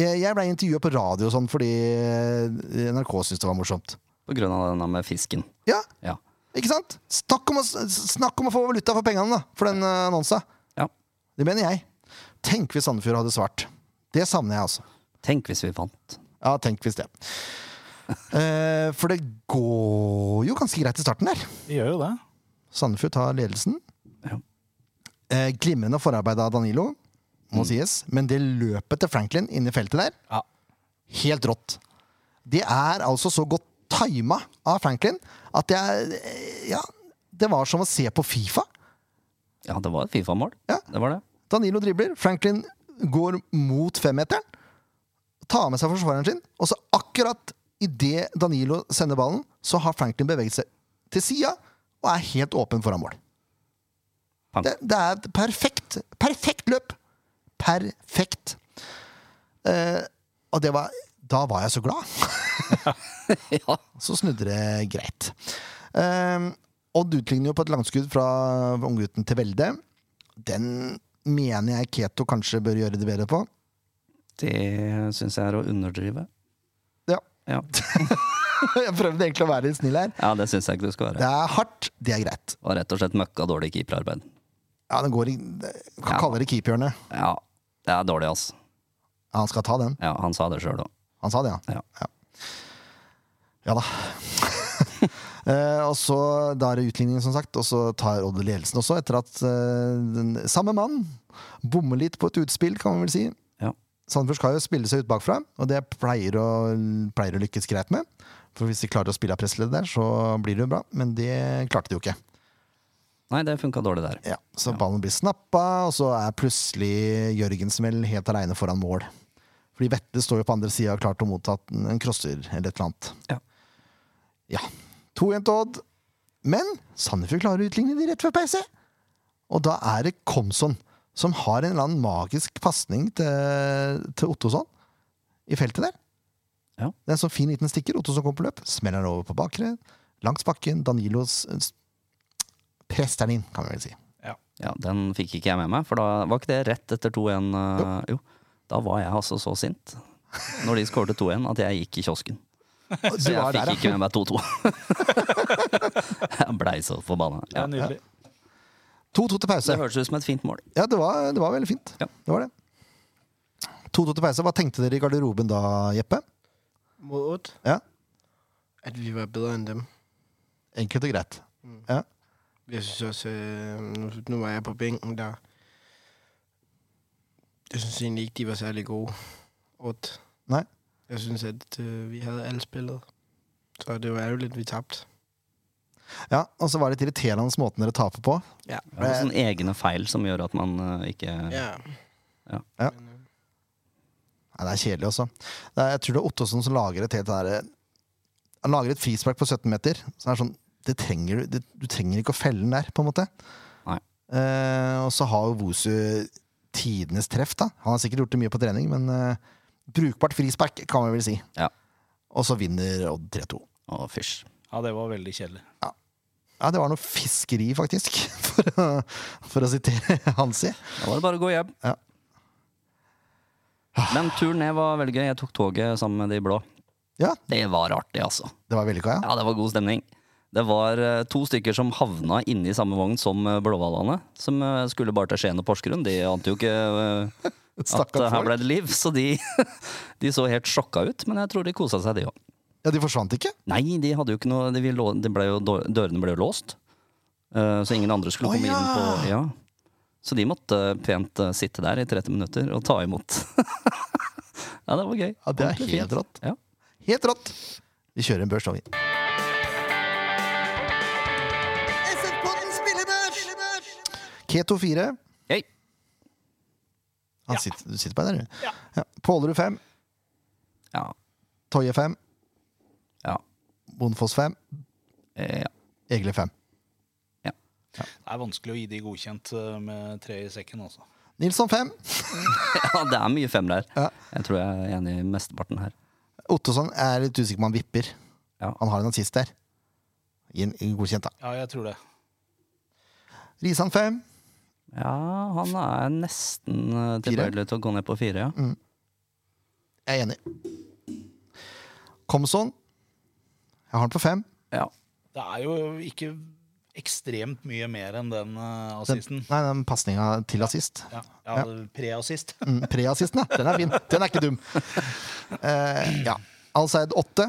[SPEAKER 1] Jeg jeg ble intervjua på radio og sånn fordi eh, NRK syntes det var morsomt.
[SPEAKER 4] På grunn av denne med fisken.
[SPEAKER 1] Ja,
[SPEAKER 4] Ja.
[SPEAKER 1] Ikke sant? Snakk om å, snakk om å få valuta for pengene da, for den eh, annonsa.
[SPEAKER 4] ja.
[SPEAKER 1] Det mener jeg. Tenk hvis Sandefjord hadde svart. Det savner jeg, altså.
[SPEAKER 4] Tenk hvis vi vant.
[SPEAKER 1] Ja, tenk hvis det. Eh, for det går jo ganske greit i starten der.
[SPEAKER 2] Vi gjør jo det.
[SPEAKER 1] Sandefjord tar ledelsen.
[SPEAKER 4] Ja.
[SPEAKER 1] Eh, glimrende forarbeid av Danilo, må sies. Men det løpet til Franklin inne i feltet der,
[SPEAKER 2] Ja.
[SPEAKER 1] helt rått. Det er altså så godt tima av Franklin at jeg Ja, det var som å se på Fifa.
[SPEAKER 4] Ja, det var et Fifa-mål.
[SPEAKER 1] Ja.
[SPEAKER 4] Det var det.
[SPEAKER 1] Danilo dribler, Franklin går mot femmeteren, tar med seg forsvareren sin, og så akkurat idet Danilo sender ballen, så har Franklin beveget seg til sida og er helt åpen foran mål.
[SPEAKER 4] Pang.
[SPEAKER 1] Det, det er et perfekt, perfekt løp! Perfekt. Eh, og det var Da var jeg så glad.
[SPEAKER 4] ja.
[SPEAKER 1] Så snudde det greit. Ehm, Odd utligner jo på et langskudd fra unggutten til Velde. Den mener jeg Keto kanskje bør gjøre det bedre på.
[SPEAKER 4] Det syns jeg er å underdrive.
[SPEAKER 1] Ja,
[SPEAKER 4] Ja,
[SPEAKER 1] Jeg prøvde egentlig å være litt snill her.
[SPEAKER 4] ja det syns jeg ikke du skal
[SPEAKER 1] Det
[SPEAKER 4] være.
[SPEAKER 1] er hardt, det er greit.
[SPEAKER 4] Det var rett og slett møkka dårlig keeperarbeid.
[SPEAKER 1] Ja, den går i Kan kalle det keeperhjørne.
[SPEAKER 4] Ja, det er dårlig, ass.
[SPEAKER 1] Ja, han skal ta den.
[SPEAKER 4] Ja, han sa det sjøl òg.
[SPEAKER 1] Han sa det, ja.
[SPEAKER 4] Ja.
[SPEAKER 1] Ja da. Eh, og så Da er det utligningen, som sagt. Og så tar Odd ledelsen også, etter at eh, den samme mann bommer litt på et utspill, kan man vel si.
[SPEAKER 4] Ja.
[SPEAKER 1] Sandefjord skal jo spille seg ut bakfra, og det pleier å, pleier å lykkes greit med. For hvis de klarer å spille av pressleddet der, så blir det jo bra, men det klarte de jo ikke.
[SPEAKER 4] Nei, det funka dårlig der.
[SPEAKER 1] Ja, så ballen blir snappa, og så er plutselig Jørgensen vel helt aleine foran mål. Fordi Vetle står jo på andre sida og har klart å motta en crosser eller et eller annet.
[SPEAKER 4] Ja.
[SPEAKER 1] Ja. 2-1 til Odd. Men Sandefjord klarer å utligne de rett før pause. Og da er det Komson som har en eller annen magisk pasning til, til Ottosson i feltet der.
[SPEAKER 4] Ja.
[SPEAKER 1] Det er en sånn fin liten stikker. Ottosson kommer på løp, smeller den over på bakre. Langs bakken. Danilos eh, s- presser den inn, kan vi vel si.
[SPEAKER 4] Ja, Den fikk ikke jeg med meg, for da var ikke det rett etter 2-1. eh, jo. Da var jeg altså så sint når de skårte 2-1, at jeg gikk i kiosken. Så
[SPEAKER 1] Du
[SPEAKER 4] jeg
[SPEAKER 1] var
[SPEAKER 4] fikk
[SPEAKER 1] der, ja.
[SPEAKER 4] ikke med meg 2-2. jeg blei så forbanna.
[SPEAKER 2] Det
[SPEAKER 4] Ja.
[SPEAKER 2] er nydelig.
[SPEAKER 1] 2-2 til pause.
[SPEAKER 4] Det hørtes ut som et fint mål.
[SPEAKER 1] Ja, det var, det var veldig fint.
[SPEAKER 4] Ja.
[SPEAKER 1] Det var det. 2-2 til pause. Hva tenkte dere i garderoben da, Jeppe?
[SPEAKER 3] Mod 8,
[SPEAKER 1] Ja,
[SPEAKER 3] at vi var bedre end dem.
[SPEAKER 1] Enkelt og greit. Ja.
[SPEAKER 3] Jeg synes også, øh, nu, nu var jeg på bænken, der Jeg synes egentlig ikke, de var særlig gode. Odd.
[SPEAKER 1] Nej.
[SPEAKER 3] Jeg synes, at øh, vi havde alle spillet. Så det var ærgerligt, vi tabte.
[SPEAKER 1] Ja, Og så var det litt irriterende måten dere taper på.
[SPEAKER 4] Det er sånne egne feil som gjør at man eh, ikke
[SPEAKER 3] Ja.
[SPEAKER 1] Ja.
[SPEAKER 3] Men, øh,
[SPEAKER 1] Nei, det er kjedelig også. Det er, jeg tror det er Ottosson som lager et helt det der, Han lager et frispark på 17 meter. Så det er sånn, det trenger du, det, du trenger ikke å felle den der, på en måte.
[SPEAKER 4] Nei.
[SPEAKER 1] Eh, og så har jo Wosu tidenes treff, da. Han har sikkert gjort det mye på trening, men eh, brukbart frispark, kan vi vel si.
[SPEAKER 4] Ja.
[SPEAKER 1] Og så vinner Odd 3-2.
[SPEAKER 4] Å, fysj.
[SPEAKER 2] Ja, det var veldig kjedelig.
[SPEAKER 1] Ja, det var noe fiskeri, faktisk, for å, for å sitere Hansi.
[SPEAKER 4] Da var det bare å gå hjem.
[SPEAKER 1] Ja.
[SPEAKER 4] Men turen ned var veldig gøy. Jeg tok toget sammen med de blå.
[SPEAKER 1] Ja.
[SPEAKER 4] Det var artig, altså.
[SPEAKER 1] Det var vellykka, ja.
[SPEAKER 4] Ja, det var god stemning. Det var eh, to stykker som havna inni samme vogn som eh, blåhvalene. Som eh, skulle bare til Skien og Porsgrunn. De ante jo ikke eh, at
[SPEAKER 1] Stakkars
[SPEAKER 4] eh, her
[SPEAKER 1] folk.
[SPEAKER 4] ble det liv, så de, de så helt sjokka ut. Men jeg tror de kosa seg, de òg.
[SPEAKER 1] Ja, de forsvant ikke.
[SPEAKER 4] Nei, de hadde jo ikke noe de ville lå- de ble jo, dår- Dørene ble jo låst. eh, Så ingen andre skulle
[SPEAKER 1] Å,
[SPEAKER 4] komme inn
[SPEAKER 1] ja.
[SPEAKER 4] på ja. Så de måtte pent eh, sitte der i 30 minutter og ta imot. ja, det var gøy.
[SPEAKER 1] Ja, det er
[SPEAKER 4] Ordentlig
[SPEAKER 1] helt
[SPEAKER 4] fint.
[SPEAKER 1] rått.
[SPEAKER 4] Ja.
[SPEAKER 1] Helt rått. Vi kjører en børs, da, vi. Keto 4.
[SPEAKER 4] Hei.
[SPEAKER 1] Han sitter, du sitter på den, der, du. Ja. Pålerud 5.
[SPEAKER 4] Ja.
[SPEAKER 1] Toje 5.
[SPEAKER 4] Ja.
[SPEAKER 1] Bondefoss 5.
[SPEAKER 4] Eh, ja.
[SPEAKER 1] Egle 5.
[SPEAKER 2] Det er vanskelig å gi de godkjent eh, med tre i sekken, altså.
[SPEAKER 1] Nilsson 5.
[SPEAKER 4] ja, det er mye femmer her.
[SPEAKER 1] Ja.
[SPEAKER 4] Jeg tror jeg er enig i mesteparten her.
[SPEAKER 1] Ottosson er litt usikker på om han vipper.
[SPEAKER 4] Ja.
[SPEAKER 1] Han har en assist der. Gi en- en Godkjent, da.
[SPEAKER 2] Ja, jeg tror det.
[SPEAKER 1] Risan 5.
[SPEAKER 4] Ja, han er nesten eh, tilbøyelig til å gå ned på fire, ja.
[SPEAKER 1] Mm. Jeg er enig. Komson. Jeg har den på 5.
[SPEAKER 4] ja.
[SPEAKER 2] Det er jo ikke ekstremt mye mer enn den eh, assisten.
[SPEAKER 1] Nei, den pasninga til assist.
[SPEAKER 2] Ja, ja pre-assist.
[SPEAKER 1] Mm, Preassisten, ja. Den er fin. Den er ikke dum. Eh, ja. Alseid 8.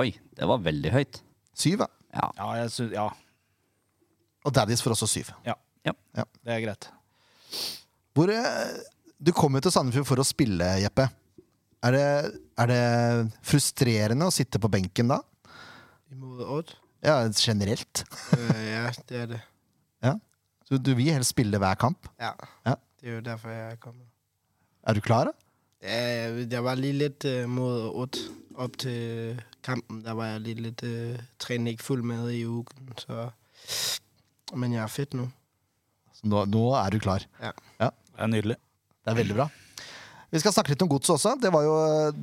[SPEAKER 4] Oi, det var veldig høyt.
[SPEAKER 1] 7, ja.
[SPEAKER 4] Ja.
[SPEAKER 2] Ja, jeg synes, ja,
[SPEAKER 1] Og Daddies får også 7.
[SPEAKER 2] ja,
[SPEAKER 4] ja.
[SPEAKER 2] det er greit.
[SPEAKER 1] Hvor, eh, du kom jo til Sandefjord for å spille, Jeppe. Er det, er det frustrerende å sitte på benken da?
[SPEAKER 3] imod Odd.
[SPEAKER 1] Ja, generelt.
[SPEAKER 3] Øh, ja, det er det.
[SPEAKER 1] Ja. Du, du vil helst spille hver kamp.
[SPEAKER 3] Ja.
[SPEAKER 1] Ja.
[SPEAKER 3] Det er jo derfor, jeg er kommet.
[SPEAKER 1] Er du klar, da?
[SPEAKER 3] Ja, jeg- jeg var lige lidt øh, mod Odd op til kampen. Der var jeg lige lidt øh, trænet ikke fuld med i ugen, så... Men jeg er fedt nu.
[SPEAKER 1] Så Nå, nå er du klar.
[SPEAKER 2] Det er nydelig.
[SPEAKER 1] Det er veldig bra. Vi skal snakke litt om godset også. Det var jo,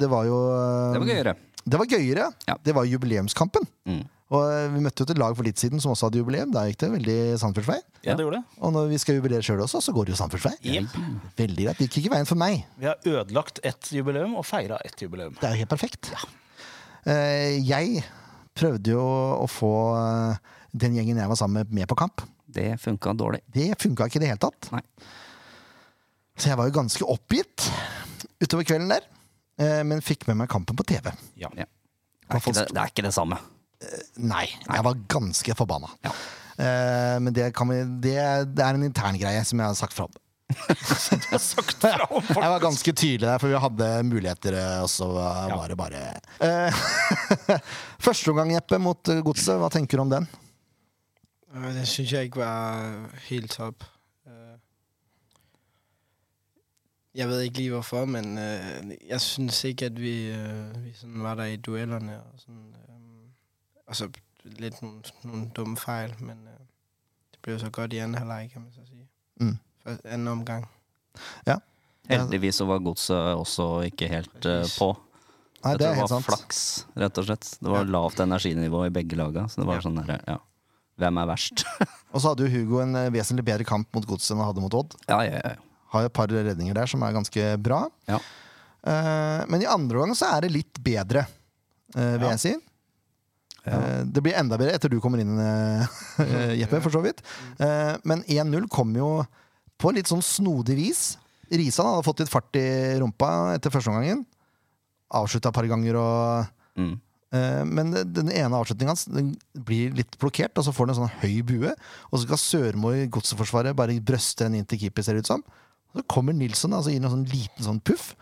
[SPEAKER 1] det var jo eh,
[SPEAKER 4] Det var gøyere.
[SPEAKER 1] Det var gøyere.
[SPEAKER 4] Ja.
[SPEAKER 1] Det var jubileumskampen.
[SPEAKER 4] Mm.
[SPEAKER 1] Og eh, vi møtte jo et lag for litt siden som også hadde jubileum. Da gikk det veldig Sandefjords vei.
[SPEAKER 2] Ja, det gjorde det.
[SPEAKER 1] Og når vi skal jubilere sjøl også, så går det jo Sandefjords vei.
[SPEAKER 2] Jep.
[SPEAKER 1] Veldig greit. Det gikk ikke veien for meg.
[SPEAKER 2] Vi har ødelagt ett jubileum og feira ett jubileum.
[SPEAKER 1] Det er jo helt perfekt. Eh, Jeg prøvde jo å få eh, den gjengen jeg var sammen med, med på kamp.
[SPEAKER 4] Det funka dårlig.
[SPEAKER 1] Det funka ikke i det hele tatt.
[SPEAKER 4] Nei.
[SPEAKER 1] Så jeg var jo ganske oppgitt utover kvelden der. eh, Men fikk med meg kampen på TV.
[SPEAKER 2] Ja.
[SPEAKER 4] Ja. Det er ikke det, det, er ikke det samme.
[SPEAKER 1] Nei, jeg var ganske forbanna.
[SPEAKER 4] Ja.
[SPEAKER 1] Eh, Men det, kan vi, det, det er en intern greie som jeg har sagt fra om. Jeg var ganske tydelig der, for vi hadde muligheter, eh, og så var
[SPEAKER 2] Ja.
[SPEAKER 1] det bare Eh, Første omgang, Jeppe, mot eh, Godset. Hva tenker du om den?
[SPEAKER 3] Og det synes jeg ikke var helt top. Øh, Jeg ved ikke lige hvorfor, men øh, jeg synes ikke, at vi, øh, vi sådan var der i duellerne. Og, sådan, øh, og så lidt nogle, nogle dumme fejl, men øh, det blev så godt i anden halvleg, kan man så sige.
[SPEAKER 1] Mm.
[SPEAKER 3] Først anden omgang.
[SPEAKER 4] Heldigvis så var godset også ikke helt eh,
[SPEAKER 3] Precis.
[SPEAKER 4] på.
[SPEAKER 1] Nei, det
[SPEAKER 4] jeg
[SPEAKER 1] er
[SPEAKER 4] tror
[SPEAKER 1] helt
[SPEAKER 4] det var
[SPEAKER 1] sant.
[SPEAKER 4] flaks, rett og slett. Det var lavt energinivå i begge laga. Så det var sånn der, ja. Hvem er verst?
[SPEAKER 1] Og så hadde jo Hugo en eh, vesentlig bedre kamp mot Godset enn han hadde mot Odd.
[SPEAKER 4] ja, ja, ja.
[SPEAKER 1] Har jo et par redninger der som er ganske bra.
[SPEAKER 4] Ja.
[SPEAKER 1] Eh, Men i andre omgang så er det litt bedre, eh, vil
[SPEAKER 2] Ja.
[SPEAKER 1] jeg si. Eh, Det blir enda bedre etter du kommer inn, eh, Jeppe, for så vidt. Eh, Men 1-0 kom jo på litt sånn snodig vis. Risan hadde fått litt fart i rumpa etter første omgangen. Avslutta et par ganger og
[SPEAKER 4] Mm.
[SPEAKER 1] Eh, Men den ene avslutningen hans den blir litt blokkert, og så får den en sånn høy bue. Og så skal Sørmo i godseforsvaret bare brøste den inn til keeper, ser det ut som. Så kommer Nilsson og altså, gir en sånn liten sånn puff.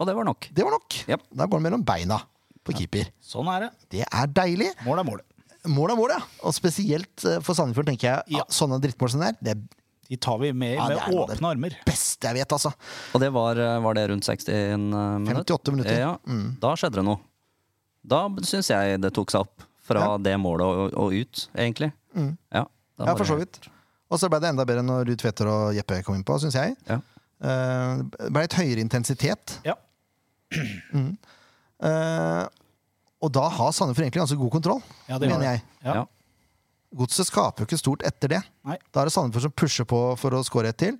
[SPEAKER 4] Og det var nok.
[SPEAKER 1] Det var nok.
[SPEAKER 4] Japp.
[SPEAKER 1] Da går han mellom beina på keeper.
[SPEAKER 2] Sånn er det.
[SPEAKER 1] Det er deilig.
[SPEAKER 2] Mål er mål.
[SPEAKER 1] Mål er mål, ja. Og spesielt eh, for Sandefjord, tenker jeg.
[SPEAKER 2] Ja.
[SPEAKER 1] Ja. Sånne drittmål som det er, det er
[SPEAKER 2] De tar vi med,
[SPEAKER 1] Ja, det er
[SPEAKER 2] med
[SPEAKER 1] noe av det.
[SPEAKER 2] åpne armer.
[SPEAKER 1] beste jeg vet, altså.
[SPEAKER 4] Og det var, eh, var det rundt 61 minutter?
[SPEAKER 1] 58 minutter. Mm.
[SPEAKER 4] Ja, Da skjedde det noe. Da syns jeg det tok seg opp. Fra det målet og, og ut, egentlig. Ja, da
[SPEAKER 1] Mm. Ja,
[SPEAKER 4] var
[SPEAKER 1] for så
[SPEAKER 4] det-
[SPEAKER 1] vidt. Og så ble det enda bedre når Ruud Tveter og Jeppe kom innpå, syns jeg.
[SPEAKER 4] Ja.
[SPEAKER 1] Eh, Det ble litt høyere intensitet.
[SPEAKER 2] Ja.
[SPEAKER 1] Eh, og da har Sandefjord egentlig ganske god kontroll,
[SPEAKER 2] Ja, det
[SPEAKER 1] mener
[SPEAKER 2] var
[SPEAKER 1] jeg.
[SPEAKER 2] Ja.
[SPEAKER 4] Ja.
[SPEAKER 1] Godset skaper jo ikke stort etter det.
[SPEAKER 2] Nei.
[SPEAKER 1] Da er det Sandefjord som pusher på for å score ett til.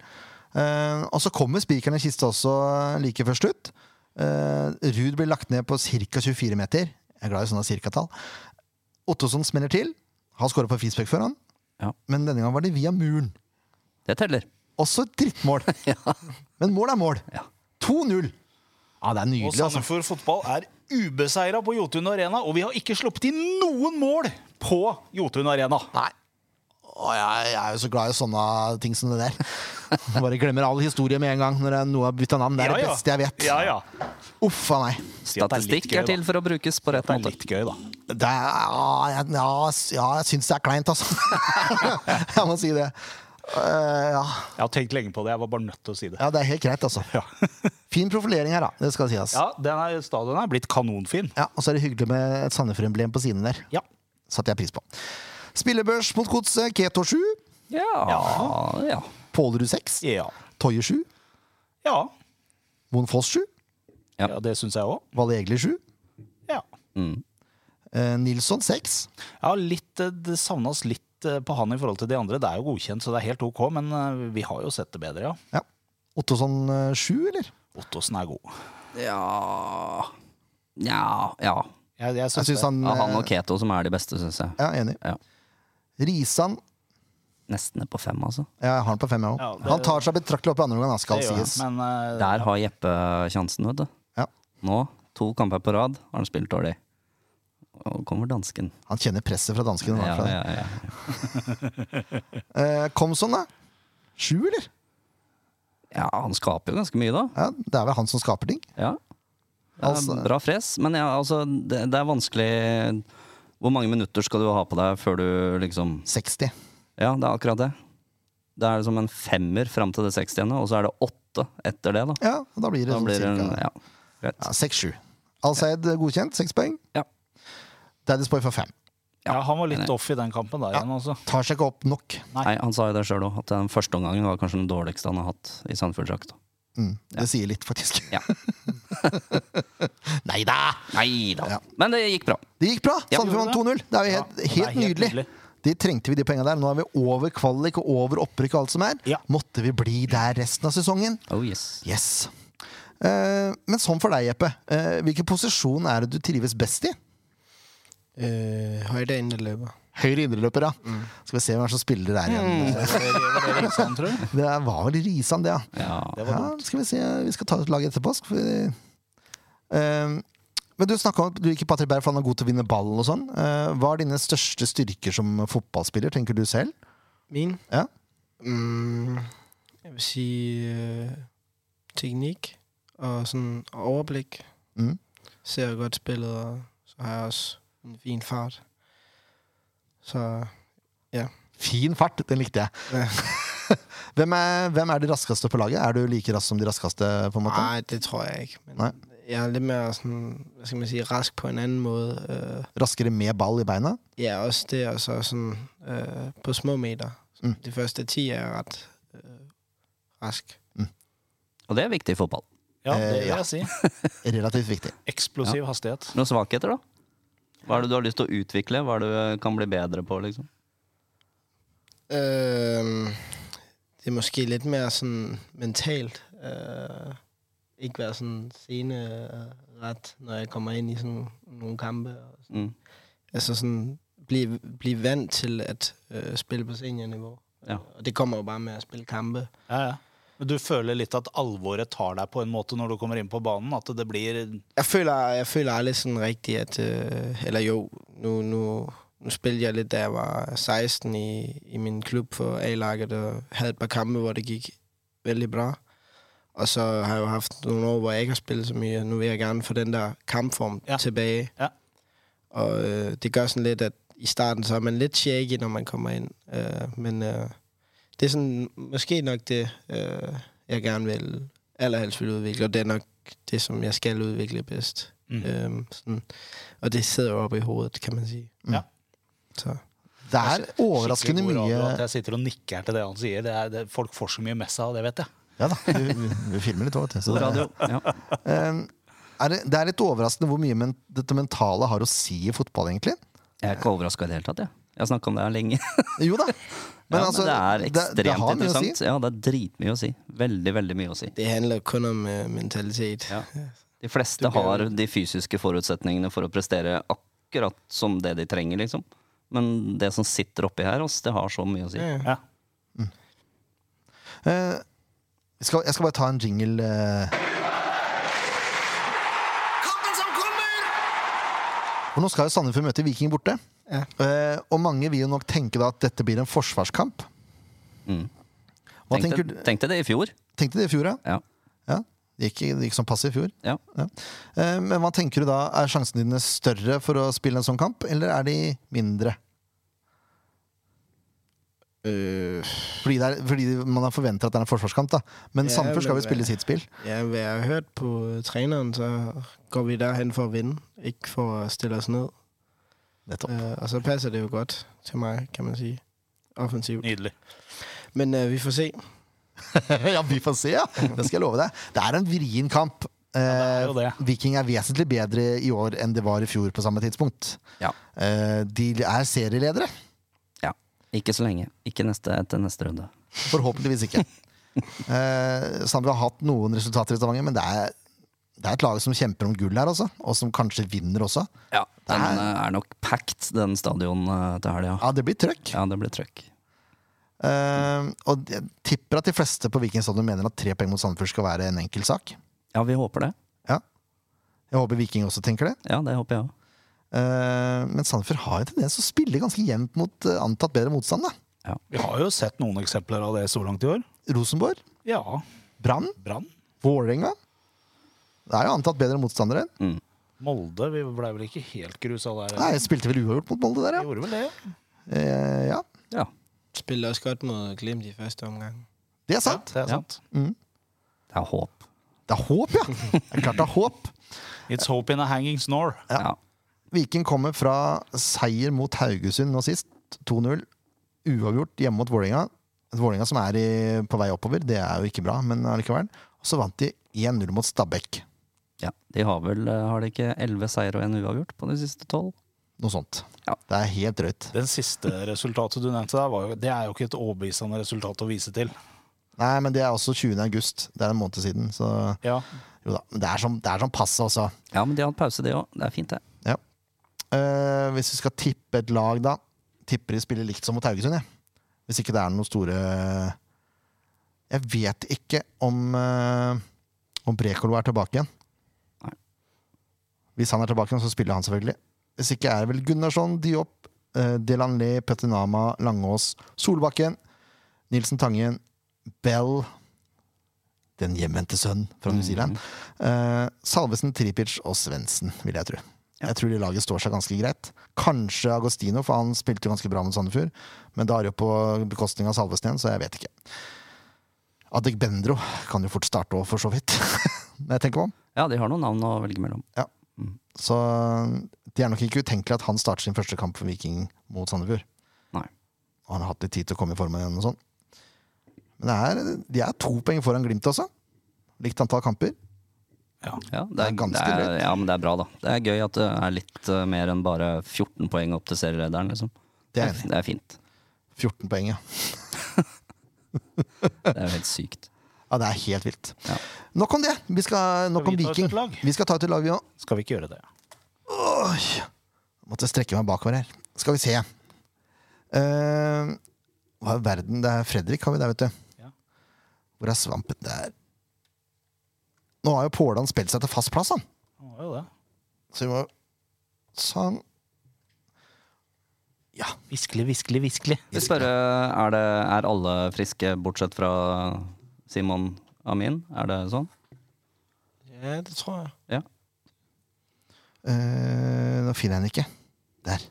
[SPEAKER 1] Eh, og så kommer spikeren i kista også eh, like før slutt. Uh, Ruud blir lagt ned på ca. 24 meter. Jeg er glad i sånne cirkatall. Ottosson smeller til. Har skåra på frispark før, han.
[SPEAKER 4] Ja.
[SPEAKER 1] Men denne gangen var det via muren.
[SPEAKER 4] Det teller.
[SPEAKER 1] Også et drittmål. Men mål er mål.
[SPEAKER 4] Ja.
[SPEAKER 1] 2-0. Ja, det er
[SPEAKER 2] Og
[SPEAKER 1] nydelig, altså.
[SPEAKER 2] Sandefjord fotball er ubeseira på Jotun Arena, og vi har ikke sluppet inn noen mål på Jotun Arena.
[SPEAKER 1] Nei. Å, jeg, jeg er jo så glad i sånne ting som det der. Bare glemmer all historie med en gang når jeg- noe har bytta navn. Det er
[SPEAKER 2] Ja,
[SPEAKER 1] det
[SPEAKER 2] ja.
[SPEAKER 1] beste jeg vet.
[SPEAKER 2] Ja, ja.
[SPEAKER 1] Uff a meg.
[SPEAKER 2] Si at det litt
[SPEAKER 4] Statistikk
[SPEAKER 2] gøy,
[SPEAKER 4] er til for å brukes på rett
[SPEAKER 2] da. Det er
[SPEAKER 4] måte.
[SPEAKER 2] litt gøy, da.
[SPEAKER 1] Det er, ja, jeg, ja, s- ja, jeg syns det er kleint, altså. jeg må si det. Eh, ja.
[SPEAKER 2] Jeg har tenkt lenge på det. Jeg var bare nødt til å si det.
[SPEAKER 1] ja, det er helt greit, altså. fin profilering her, da. Det skal sies.
[SPEAKER 2] Ja, den er, Stadion er blitt kanonfin.
[SPEAKER 1] Ja, og så er det hyggelig med et Sandefjord-emblem på siden der.
[SPEAKER 2] Ja.
[SPEAKER 1] Satte jeg pris på. Spillebørs mot Godset, Keto 7.
[SPEAKER 4] Ja, ja.
[SPEAKER 1] Pålerud 6.
[SPEAKER 2] Ja.
[SPEAKER 1] Toje 7.
[SPEAKER 2] Ja,
[SPEAKER 1] Monfoss 7.
[SPEAKER 4] Ja.
[SPEAKER 2] ja det syns jeg òg.
[SPEAKER 1] Valle Egli 7.
[SPEAKER 2] Ja.
[SPEAKER 1] Eh, Nilsson 6.
[SPEAKER 2] Ja, litt, eh, det savnes litt eh, på han i forhold til de andre. Det er jo godkjent, så det er helt OK, men eh, vi har jo sett det bedre, ja.
[SPEAKER 1] Ja. Ottosson eh, 7, eller?
[SPEAKER 2] Ottosen er god.
[SPEAKER 4] Ja Ja. ja.
[SPEAKER 2] Jeg, jeg
[SPEAKER 1] Jeg
[SPEAKER 2] synes
[SPEAKER 1] synes
[SPEAKER 2] det.
[SPEAKER 1] han,
[SPEAKER 4] Av han og
[SPEAKER 1] eh,
[SPEAKER 4] Keto som er de beste, syns jeg.
[SPEAKER 1] Ja, enig.
[SPEAKER 4] Ja.
[SPEAKER 1] Risan
[SPEAKER 4] Nesten ned på fem, altså.
[SPEAKER 1] ja, jeg har han på fem, jeg òg.
[SPEAKER 2] Ja, det-
[SPEAKER 1] han tar seg betraktelig opp i andre omgang, da, skal
[SPEAKER 2] det gjør han,
[SPEAKER 1] sies.
[SPEAKER 2] men eh,
[SPEAKER 4] Der har Jeppe sjansen, vet du.
[SPEAKER 1] Ja.
[SPEAKER 4] Nå, to kamper på rad, har han spilt dårlig. Og kommer dansken.
[SPEAKER 1] Han kjenner presset fra danskene. i
[SPEAKER 4] Ja,
[SPEAKER 1] hvert fall.
[SPEAKER 4] ja, ja.
[SPEAKER 1] Eh, Komson, da? Sju, eller?
[SPEAKER 4] ja, han skaper jo ganske mye, da.
[SPEAKER 1] Ja, det er vel han som skaper ting.
[SPEAKER 4] Ja. Det er
[SPEAKER 1] Altså-
[SPEAKER 4] Bra fres, men ja, altså, det, det er vanskelig Hvor mange minutter skal du ha på deg før du liksom
[SPEAKER 1] 60.
[SPEAKER 4] Ja, det er akkurat det. Det er som en femmer fram til det 60. og så er det åtte etter det, da.
[SPEAKER 1] Ja, og da blir det
[SPEAKER 4] Da
[SPEAKER 1] sånn
[SPEAKER 4] blir det en,
[SPEAKER 1] cirka
[SPEAKER 4] ja, greit.
[SPEAKER 1] ja, seks-sju. Al-Said godkjent, seks poeng.
[SPEAKER 4] Ja.
[SPEAKER 1] Daddy's Boy får fem.
[SPEAKER 2] ja, han var
[SPEAKER 1] eh,
[SPEAKER 4] Enig.
[SPEAKER 2] litt off i den kampen der igjen, altså.
[SPEAKER 1] Tar seg ikke opp nok.
[SPEAKER 4] Nei, han sa jo det sjøl òg, at den første omgangen var kanskje den dårligste han har hatt i Sandefjord-drakt.
[SPEAKER 1] Mm, det sier litt, faktisk.
[SPEAKER 4] Ja.
[SPEAKER 1] Nei da!
[SPEAKER 4] Nei
[SPEAKER 1] Ja.
[SPEAKER 4] da. Men det gikk bra.
[SPEAKER 1] Det gikk bra!
[SPEAKER 4] Ja,
[SPEAKER 1] Sandefjord vant 2-0. Det er jo
[SPEAKER 2] Ja,
[SPEAKER 1] helt,
[SPEAKER 2] det er
[SPEAKER 1] helt
[SPEAKER 2] helt
[SPEAKER 1] nydelig.
[SPEAKER 2] nydelig.
[SPEAKER 1] De trengte vi de penga der. Nå er vi over kvalik og over opprykk og alt som er.
[SPEAKER 2] Ja.
[SPEAKER 1] Måtte vi bli der resten av sesongen?
[SPEAKER 4] Oh yes.
[SPEAKER 1] Yes. Eh, men sånn for deg, Jeppe. Eh, hvilken posisjon er det du trives best i?
[SPEAKER 3] Øh, højde løber.
[SPEAKER 1] Høyre indreløper, ja. Skal vi se hvem som spiller der igjen. Eh,
[SPEAKER 2] Sånn, tror jeg.
[SPEAKER 1] Det var vel Risan, det, ja.
[SPEAKER 4] Ja.
[SPEAKER 2] Det var
[SPEAKER 1] ja
[SPEAKER 2] dumt.
[SPEAKER 1] skal vi se. Vi skal ta ut laget etterpå. Skal vi... Eh, men Du snakket om at du liker Patrick Berg, for han er god til å vinne ballen. og sånn. Eh, hva er dine største styrker som fotballspiller, tenker du selv?
[SPEAKER 3] Min?
[SPEAKER 1] Ja.
[SPEAKER 3] Mm, jeg vil sige øh, teknik og sådan overblik.
[SPEAKER 1] Mm.
[SPEAKER 3] Ser godt spillet, og så har jeg også en fin fart. Så
[SPEAKER 1] Fin fart, den likte jeg. hvem, er, hvem er de raskeste på laget? Er du like rask som de raskeste? på en måte?
[SPEAKER 3] nej, det tror jeg ikke. Men
[SPEAKER 1] Nej.
[SPEAKER 3] jeg er lidt mere sådan, hvad skal man sige, rask på en anden måde. Øh,
[SPEAKER 1] Raskere med ball i beina?
[SPEAKER 3] Ja, også det, og så sådan øh, på små meter.
[SPEAKER 1] Mm.
[SPEAKER 3] Mm. De første 10 er jeg ret øh, rask.
[SPEAKER 4] Og det er viktig i fotball.
[SPEAKER 2] Ja,
[SPEAKER 1] Eh,
[SPEAKER 2] det vil
[SPEAKER 1] ja.
[SPEAKER 2] jeg si.
[SPEAKER 1] Relativt viktig.
[SPEAKER 2] Eksplosiv hastighet.
[SPEAKER 4] Noen svakheter, da? Hva er det du har lyst til å utvikle? Hva er det du eh, kan bli bedre på? liksom?
[SPEAKER 3] Øh, det er måske lidt mere sådan mentalt. Øh, ikke være sådan sene øh, ret, når jeg kommer ind i sådan nogle kampe. Og sådan.
[SPEAKER 4] Mm.
[SPEAKER 3] Altså sådan blive, blive vant til at øh, spille på seniorniveau.
[SPEAKER 4] Ja.
[SPEAKER 3] Og det kommer jo bare med at spille kampe.
[SPEAKER 2] Ja, ja. Men du føler litt at alvoret tar deg på en måte når du kommer inn på banen? At det blir
[SPEAKER 3] Jeg føler, jeg føler aldrig sådan rigtigt, at... Øh, eller jo, nu, nu, nu spillede jeg lidt, da jeg var 16 i, i min klub for A-laget, og havde et par kampe, hvor det gik veldig bra. Og så har jeg jo haft noen år hvor jeg ikke har spillet så mye. Nå vil jeg gerne få den der kampform
[SPEAKER 2] Ja.
[SPEAKER 3] tilbage.
[SPEAKER 2] Ja.
[SPEAKER 3] Og øh, det gør sådan lidt, at i starten så er man lidt shaky, når man kommer ind. Øh, men øh, det er sådan måske nok det, øh, jeg gerne vil allerhelst vil udvikle. Og det er nok det, som jeg skal udvikle bedst.
[SPEAKER 2] Mm.
[SPEAKER 3] Øhm, sådan. Og det sidder jo oppe i hovedet, kan man sige.
[SPEAKER 2] Ja.
[SPEAKER 3] Så.
[SPEAKER 1] Det er Mm. overraskende
[SPEAKER 2] Skikkelig god radio
[SPEAKER 1] mye
[SPEAKER 2] At jeg sitter og nikker til det han sier. Det er, det, folk får så mye med seg av det, vet jeg.
[SPEAKER 1] Ja da, vi, vi, vi filmer litt òg, vet du. så
[SPEAKER 4] God
[SPEAKER 1] det-
[SPEAKER 4] radio. Ja.
[SPEAKER 1] Ehm, er det, det er litt overraskende hvor mye men, dette mentale har å si i fotball, egentlig.
[SPEAKER 4] Jeg er ikke overraska i det hele tatt, jeg. Jeg har snakka om det her lenge.
[SPEAKER 1] Jo da.
[SPEAKER 4] Men, ja,
[SPEAKER 1] altså,
[SPEAKER 4] men det er ekstremt
[SPEAKER 1] har mye å si.
[SPEAKER 4] interessant. Ja, det er dritmye å si. Veldig, veldig mye å si.
[SPEAKER 3] Det handler jo kun om øh, mentalitet.
[SPEAKER 4] Ja. De fleste har de fysiske forutsetningene for å prestere akkurat som det de trenger, liksom. Men det som sitter oppi her, ass, det har så mye å si.
[SPEAKER 3] Ja.
[SPEAKER 2] Ja.
[SPEAKER 1] Eh, jeg, skal, jeg skal bare ta en jingle. eh. For nå skal jo Sandefjord møte Viking borte.
[SPEAKER 3] Ja.
[SPEAKER 1] Eh, og mange vil jo nok tenke da at dette blir en forsvarskamp.
[SPEAKER 4] Mm.
[SPEAKER 1] Hva
[SPEAKER 4] Tenkte,
[SPEAKER 1] tenker du?
[SPEAKER 4] tenkte det i fjor.
[SPEAKER 1] Tenkte det i fjor, ja?
[SPEAKER 4] Ja.
[SPEAKER 1] ja. Det gikk, det gikk som pass i fjor.
[SPEAKER 4] ja.
[SPEAKER 1] Ja. Eh, men hva tenker du da? Er sjansene dine større for å spille en sånn kamp, eller er de mindre?
[SPEAKER 3] Øh,
[SPEAKER 1] Fordi, det er, fordi man har forventer at det er en forsvarskamp, da. Men
[SPEAKER 3] Ja,
[SPEAKER 1] Sandefjord skal
[SPEAKER 3] men-
[SPEAKER 1] jo spille sitt spill.
[SPEAKER 3] Ja, hvad jeg har hørt på øh, træneren, så går vi derhen for at vinde, ikke for at stille os ned.
[SPEAKER 1] Nettopp.
[SPEAKER 3] Øh, og så passer det jo godt til mig, kan man sige, offensivt.
[SPEAKER 2] Nydelig.
[SPEAKER 3] Men øh, vi får se.
[SPEAKER 1] ja, vi får se, ja. Det skal jeg love deg. Det er en vrien kamp.
[SPEAKER 2] Ja, det er jo
[SPEAKER 1] Eh, Viking er vesentlig bedre i år enn det var i fjor på samme tidspunkt.
[SPEAKER 4] Ja.
[SPEAKER 1] Eh, de er serieledere.
[SPEAKER 4] ja. Ikke så lenge. Ikke neste, etter neste runde.
[SPEAKER 1] Forhåpentligvis ikke. Eh, Sandefjord har hatt noen resultater i Stavanger, men det er, det er et lag som kjemper om gull her, altså. Og som kanskje vinner også.
[SPEAKER 4] Ja, Den
[SPEAKER 1] Nei. Ah.
[SPEAKER 4] eh, er nok packed, den stadion eh, til helga.
[SPEAKER 1] Ja, det blir trøkk.
[SPEAKER 4] Ja, det blir trøkk.
[SPEAKER 1] Eh, og jeg tipper at de fleste på Viking stadion mener at tre poeng mot Sandefjord skal være en enkel sak.
[SPEAKER 4] Ja, vi håper det.
[SPEAKER 1] Ja. Jeg håper Viking også tenker det.
[SPEAKER 4] Ja, det håper jeg òg.
[SPEAKER 1] Eh, men Sandefjord har jo tendens til å spille ganske jevnt mot eh, antatt bedre motstand. da
[SPEAKER 2] Vi har jo sett noen eksempler av det så langt i år.
[SPEAKER 1] Rosenborg,
[SPEAKER 2] Ja.
[SPEAKER 1] Brann,
[SPEAKER 2] Brann.
[SPEAKER 1] Vålerenga. Det er jo antatt bedre motstandere.
[SPEAKER 2] Molde. Vi blei vel ikke helt grusa der?
[SPEAKER 1] Nei, jeg Spilte vel uavgjort mot Molde der,
[SPEAKER 2] Vi
[SPEAKER 1] ja.
[SPEAKER 2] gjorde vel det, ja.
[SPEAKER 1] Eh, ja.
[SPEAKER 4] Ja.
[SPEAKER 3] Spiller også godt mod Glimt i første omgang.
[SPEAKER 1] Det er sant.
[SPEAKER 2] Det er sant.
[SPEAKER 4] Det er håp.
[SPEAKER 1] Det er håp, ja! Det er klart det er håp.
[SPEAKER 2] It's hope in a hanging snore.
[SPEAKER 4] Ja.
[SPEAKER 1] Viking kommer fra seier mot Haugesund nå sist. 2-0. Uavgjort hjemme mot Vålerenga. Et Vålerenga som er i, på vei oppover. Det er jo ikke bra, men allikevel. Og så vant de 1-0 mot Stabæk.
[SPEAKER 4] ja. De har vel eh, Har de ikke elleve seier og en uavgjort på de siste tolv?
[SPEAKER 1] Noe sånt.
[SPEAKER 4] Ja.
[SPEAKER 1] Det er helt drøyt.
[SPEAKER 2] Den siste resultatet du nevnte der, var jo, det er jo ikke et overbevisende resultat å vise til.
[SPEAKER 1] Nei, men det er også 20. august. Det er en måned siden, så
[SPEAKER 2] Ja.
[SPEAKER 1] jo da. Men det er sånn, det er sånn passe, altså.
[SPEAKER 4] Ja, men de har hatt pause, de òg. Det er fint, det.
[SPEAKER 1] Ja. Eh, hvis vi skal tippe et lag, da Tipper de spiller likt som mot Haugesund, jeg. Hvis ikke det er noen store Jeg vet ikke om eh, Om Brekolo er tilbake igjen.
[SPEAKER 4] Nei.
[SPEAKER 1] Hvis han er tilbake igjen, så spiller han selvfølgelig. Hvis ikke er det vel Gunnarsson, Diop, uh, Delanley, Petinama, Langås, Solbakken, Nilsen Tangen, Bell Den hjemvendte sønnen fra New Zealand. Eh, Salvesen, Tripic og Svendsen, vil jeg tro. Jeg tror det laget står seg ganske greit. Kanskje Agostino, for han spilte jo ganske bra mot Sandefjord. Men da er det jo på bekostning av Salvesen igjen, så jeg vet ikke. Adek Bendro kan jo fort starte òg, for så vidt. Når jeg tenker meg om.
[SPEAKER 4] Ja, de har noen navn å velge mellom.
[SPEAKER 1] Så eh, det er nok ikke utenkelig at han starter sin første kamp for Viking mot Sandefjord.
[SPEAKER 4] Nei.
[SPEAKER 1] Og han har hatt litt tid til å komme i form igjen og sånn. Men det er, de er to poeng foran Glimt også. Likt antall kamper.
[SPEAKER 4] Ja, det er,
[SPEAKER 1] Det er ganske
[SPEAKER 4] det er,
[SPEAKER 1] drøyt.
[SPEAKER 4] ja, men det er bra, da. Det er gøy at det er litt eh, mer enn bare 14 poeng opp til serielederen, liksom.
[SPEAKER 1] Det er
[SPEAKER 4] Det
[SPEAKER 1] enig.
[SPEAKER 4] er- det er fint.
[SPEAKER 1] 14 poeng, ja.
[SPEAKER 4] Det er jo helt sykt.
[SPEAKER 1] Ja, det er helt vilt.
[SPEAKER 4] Ja.
[SPEAKER 1] Nok om det. Vi skal, nok
[SPEAKER 2] Skal
[SPEAKER 1] om
[SPEAKER 2] vi ta ut
[SPEAKER 1] Viking.
[SPEAKER 2] et lag?
[SPEAKER 1] Vi skal ta ut et lag, vi òg.
[SPEAKER 2] Skal vi ikke gjøre det?
[SPEAKER 1] Oi! Måtte strekke meg bakover her. Skal vi se. Eh, hva er verden? Det er Fredrik har vi der, vet du.
[SPEAKER 2] Ja.
[SPEAKER 1] Hvor er svampen der? Nå har jo Pålan spilt seg til fast plass, han.
[SPEAKER 2] Det var jo det.
[SPEAKER 1] Så vi må Sånn. Ja.
[SPEAKER 2] Viskelig, viskelig, viskelig.
[SPEAKER 4] Vi spør, eh, er, det, er alle friske bortsett fra Simon Amin, er det sånn?
[SPEAKER 3] Ja, det tror jeg.
[SPEAKER 1] Eh, nå finner jeg den ikke. Der.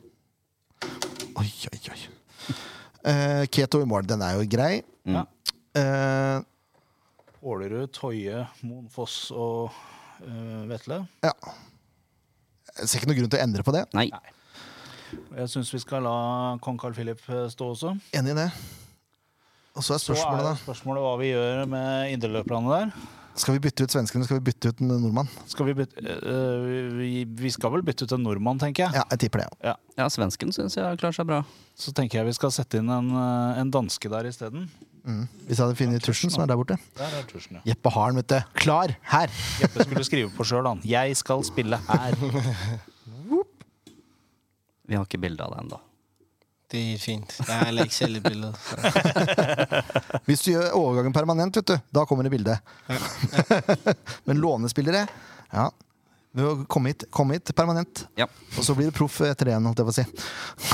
[SPEAKER 1] Oi, oi, oi. Eh, Keto i morgen, den er jo grei.
[SPEAKER 4] Mm.
[SPEAKER 2] Ja.
[SPEAKER 1] Eh,
[SPEAKER 2] Pålerud, Tøye, Monfoss og eh, Vetle.
[SPEAKER 1] ja. Jeg ser ikke noen grunn til å endre på det.
[SPEAKER 4] Nei.
[SPEAKER 2] Jeg syns vi skal la kong Carl Philip eh, stå også.
[SPEAKER 1] Enig i det. Og så er
[SPEAKER 2] Så er
[SPEAKER 1] spørsmålet,
[SPEAKER 2] jo spørsmålet hva vi gjør med indreløperne der.
[SPEAKER 1] da. Skal vi bytte ut svensken, eller skal vi bytte ut en nordmann?
[SPEAKER 2] Skal vi, bytte, eh, vi, vi skal vel bytte ut en nordmann, tenker jeg.
[SPEAKER 1] Ja, jeg tipper det. ja.
[SPEAKER 4] Ja, svensken syns jeg klarer seg bra.
[SPEAKER 2] Så tenker jeg vi skal sette inn en, eh, en danske der isteden.
[SPEAKER 1] Mm. Hvis jeg hadde funnet Tusjen, som er der borte.
[SPEAKER 2] Der er Tusen, ja.
[SPEAKER 1] Jeppe har den, vet du. Klar! Her!
[SPEAKER 2] Jeppe skulle skrive på sjøl, han. 'Jeg skal spille her'.
[SPEAKER 4] Vi har ikke bilde av det ennå.
[SPEAKER 3] Det er helt fint. Jeg har heller ikke selv et billede. Så.
[SPEAKER 1] Hvis du gjør overgangen permanent, vet du, da kommer det bildet. Men lånespillere, ja. Ved å komme hit, komme hit permanent.
[SPEAKER 4] Ja.
[SPEAKER 1] Og så blir du proff etter det igjen, holdt jeg på å si.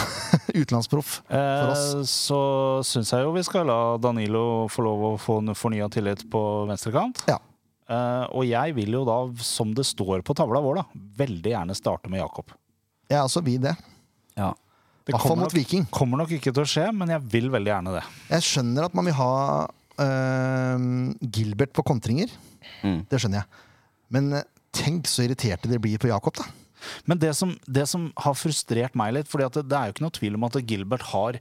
[SPEAKER 1] Utenlandsproff. For
[SPEAKER 2] Eh,
[SPEAKER 1] oss.
[SPEAKER 2] så syns jeg jo vi skal la Danilo få lov å få fornya tillit på venstrekant.
[SPEAKER 1] Ja.
[SPEAKER 2] Eh, og jeg vil jo da, som det står på tavla vår, da, veldig gjerne starte med Jakob.
[SPEAKER 1] Jeg er også altså, vi det.
[SPEAKER 4] Ja.
[SPEAKER 2] Det
[SPEAKER 1] Haffa
[SPEAKER 2] kommer
[SPEAKER 1] mot
[SPEAKER 2] nok,
[SPEAKER 1] Viking.
[SPEAKER 2] kommer nok ikke til å skje, men jeg vil veldig gjerne det.
[SPEAKER 1] Jeg skjønner at man vil ha øhm, Gilbert på kontringer.
[SPEAKER 4] Mm.
[SPEAKER 1] Det skjønner jeg. Men eh, tenk så irriterte dere blir på Jakob, da.
[SPEAKER 2] Men det som, det som har frustrert meg litt, fordi at det, det er jo ikke noe tvil om at Gilbert har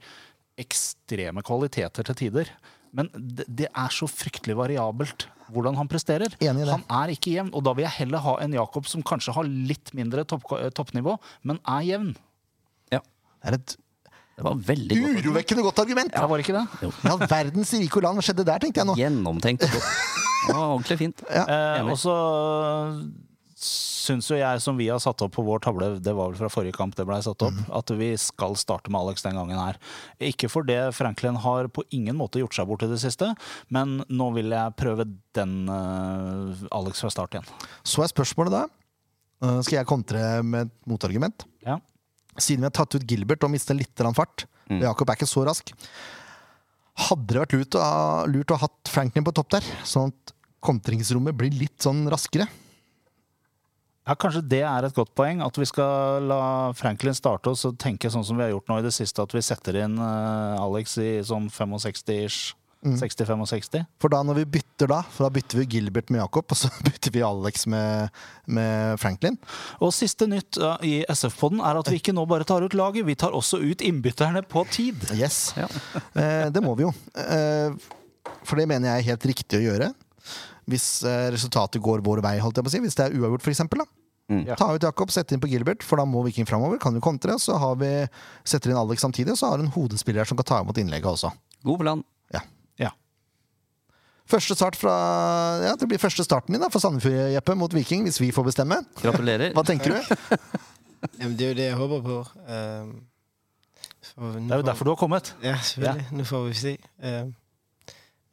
[SPEAKER 2] ekstreme kvaliteter til tider. Men det, det er så fryktelig variabelt hvordan han presterer.
[SPEAKER 1] Enig i det.
[SPEAKER 2] Han er ikke jevn, og da vil jeg heller ha en Jakob som kanskje har litt mindre topp, toppnivå, men er jevn.
[SPEAKER 1] Det er et
[SPEAKER 4] Det var veldig godt.
[SPEAKER 1] urovekkende godt argument!
[SPEAKER 2] Det var ikke det?
[SPEAKER 1] I all verdens rike land, hva skjedde der, tenkte jeg nå.
[SPEAKER 4] Gjennomtenkt. og godt. Det var ordentlig fint.
[SPEAKER 2] Eh,
[SPEAKER 4] Enig.
[SPEAKER 2] og så syns jo jeg, som vi har satt opp på vår tavle, det var vel fra forrige kamp det blei satt opp, at vi skal starte med Alex den gangen her. Ikke for det Franklin har på ingen måte gjort seg bort i det siste, men nå vil jeg prøve den eh, Alex fra start igjen.
[SPEAKER 1] Så er spørsmålet da øh, Skal jeg kontre med et motargument?
[SPEAKER 2] Ja.
[SPEAKER 1] Siden vi har tatt ut Gilbert og mistet litt grann fart og Jakob er ikke så rask Hadde det vært lurt å, ha- lurt å ha hatt Franklin på topp der, sånn at kontringsrommet blir litt sånn raskere?
[SPEAKER 2] Ja, Kanskje det er et godt poeng, at vi skal la Franklin starte oss og tenke sånn som vi har gjort nå i det siste, at vi setter inn eh, Alex i sånn 65-ish. 60-65.
[SPEAKER 1] For da når vi bytter da, for da bytter vi Gilbert med Jakob, og så bytter vi Alex med, med Franklin.
[SPEAKER 2] Og siste nytt ja, i SF-podden er at vi ikke nå bare tar ut laget, vi tar også ut innbytterne på tid.
[SPEAKER 1] Yes.
[SPEAKER 4] Ja.
[SPEAKER 1] Eh, det må vi jo. Eh, for det mener jeg er helt riktig å gjøre. Hvis eh, resultatet går vår vei, holdt jeg på å si. Hvis det er uavgjort, for eksempel, da.
[SPEAKER 4] Mm.
[SPEAKER 2] Ja.
[SPEAKER 1] Ta ut Jakob, sette inn på Gilbert, for da må Viking framover. Kan jo kontre. Så har vi, setter inn Alex samtidig, og så har du en hodespiller her som kan ta imot innlegget også.
[SPEAKER 4] God plan.
[SPEAKER 2] Ja.
[SPEAKER 1] Første start fra, ja, det blir første starten din da, for Sandefjord, Jeppe, mot Viking, hvis vi får bestemme.
[SPEAKER 4] Gratulerer.
[SPEAKER 1] Hva tenker du?
[SPEAKER 3] Jamen, det er jo det jeg håper på. Øhm, så nu
[SPEAKER 2] Det er jo
[SPEAKER 3] får-
[SPEAKER 2] derfor du har kommet.
[SPEAKER 3] Ja, selvfølgelig. Nu får vi se. Øhm,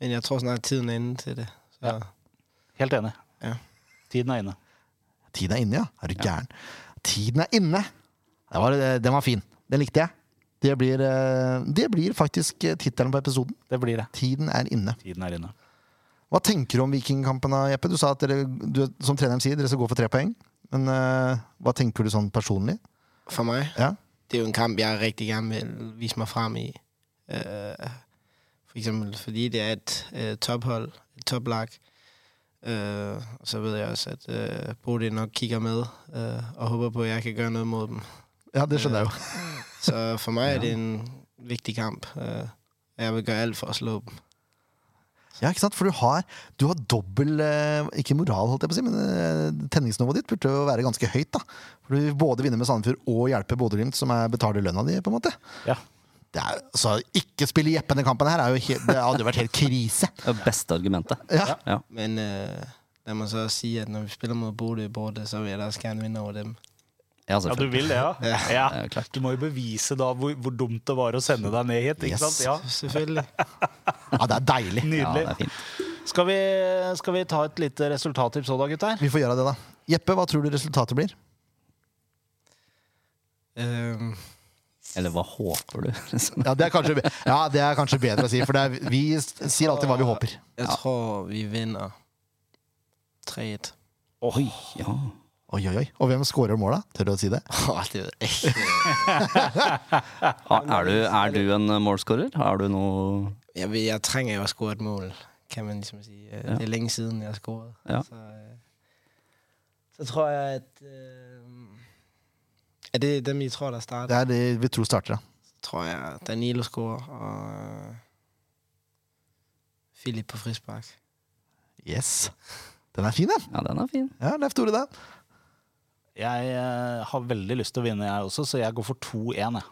[SPEAKER 3] men jeg tror snart tiden er inde til det. Så.
[SPEAKER 2] Ja. Helt enig.
[SPEAKER 3] Ja.
[SPEAKER 2] Tiden er inne.
[SPEAKER 1] Tiden er inne, ja. Er du gæren? Tiden er inne! Den var, eh, den var fin. Den likte jeg. Det blir, eh, det blir faktisk eh, tittelen på episoden.
[SPEAKER 2] Det blir det.
[SPEAKER 1] Tiden er inne.
[SPEAKER 2] Tiden er inne.
[SPEAKER 1] Hva tenker du om vikingkampen, da, Jeppe? Du sa at dere, du, som treneren sier, dere skal gå for tre poeng. Men eh, hva tenker du sånn personlig?
[SPEAKER 3] For mig,
[SPEAKER 1] Ja.
[SPEAKER 3] det er jo en kamp, jeg rigtig gerne vil vise mig frem i. Øh, for eksempel fordi det er et øh, tophold, et toplag. Øh, og så ved jeg også, at øh, Bodil nok kigger med øh, og håber på, at jeg kan gøre noget mod dem.
[SPEAKER 1] Ja, det skjønner jeg jo.
[SPEAKER 3] Så for mig er det en vigtig kamp. Øh, og jeg vil gøre alt for at slå dem.
[SPEAKER 1] Eh, Ja, ikke sant? For du har, du har dobbel eh, Ikke moral, holdt jeg på å si, men eh, tenningsnivået ditt burde jo være ganske høyt. da. For du både vinner med Sandefjord og hjelper Bodø-Glimt, som er, betaler lønna di. på en måte.
[SPEAKER 2] Ja.
[SPEAKER 1] Det er, så ikke spille Jeppe denne kampen her er jo helt, det hadde jo vært helt krise.
[SPEAKER 4] Det er beste argumentet.
[SPEAKER 1] Ja.
[SPEAKER 4] Ja.
[SPEAKER 3] Men øh, lad mig så også sige, at når vi spiller mod Bodø i bordet, så vil jeg da også gerne vinde over dem.
[SPEAKER 4] Ja,
[SPEAKER 2] Ja, du
[SPEAKER 4] selvfølgelig.
[SPEAKER 2] vil det, ja?
[SPEAKER 4] Det er jo klart.
[SPEAKER 2] Du må jo bevise da hvor, hvor dumt det var å sende deg ned hit. ikke
[SPEAKER 1] Yes.
[SPEAKER 2] sant? Ja,
[SPEAKER 3] Selvfølgelig.
[SPEAKER 1] Ja, det er deilig.
[SPEAKER 4] Ja, det
[SPEAKER 2] Nydelig.
[SPEAKER 4] er fint.
[SPEAKER 2] Skal vi, skal vi ta et lite resultattips òg, da, gutter?
[SPEAKER 1] Vi får gjøre det, da.
[SPEAKER 3] Øh,
[SPEAKER 1] Jeppe, hva tror du resultatet blir?
[SPEAKER 3] Øhm,
[SPEAKER 4] Eller hva håper du? liksom?
[SPEAKER 1] Ja, det er kanskje, be- ja, det er kanskje bedre å si, for det er, vi s- sier alltid hva vi håper.
[SPEAKER 3] Jeg tror vi vinner 3-1.
[SPEAKER 2] Oi.
[SPEAKER 4] Ja.
[SPEAKER 1] Oi, oi, oi. Og hvem scorer måla? Tør du å si det?
[SPEAKER 3] Åh, det er ikke
[SPEAKER 4] Ha- Er du, er du en målskårer? Har du noe
[SPEAKER 3] jeg, ved- jeg trenger jo å score et mål, kan man liksom si. Eh, Det er lenge siden jeg har scoret.
[SPEAKER 4] Ja.
[SPEAKER 3] Så, eh, så tror jeg at eh, Er det dem I tror der starter?
[SPEAKER 1] Det er det vi tror starter, ja.
[SPEAKER 3] Tror jeg Danilo scorer, og Filip på frispark.
[SPEAKER 1] Yes. Den er fin, den.
[SPEAKER 4] Ja, den er fin.
[SPEAKER 1] Ja, Leif Tore, den.
[SPEAKER 2] Jeg eh, har veldig lyst til å vinne, jeg også, så jeg går for 2-1. jeg.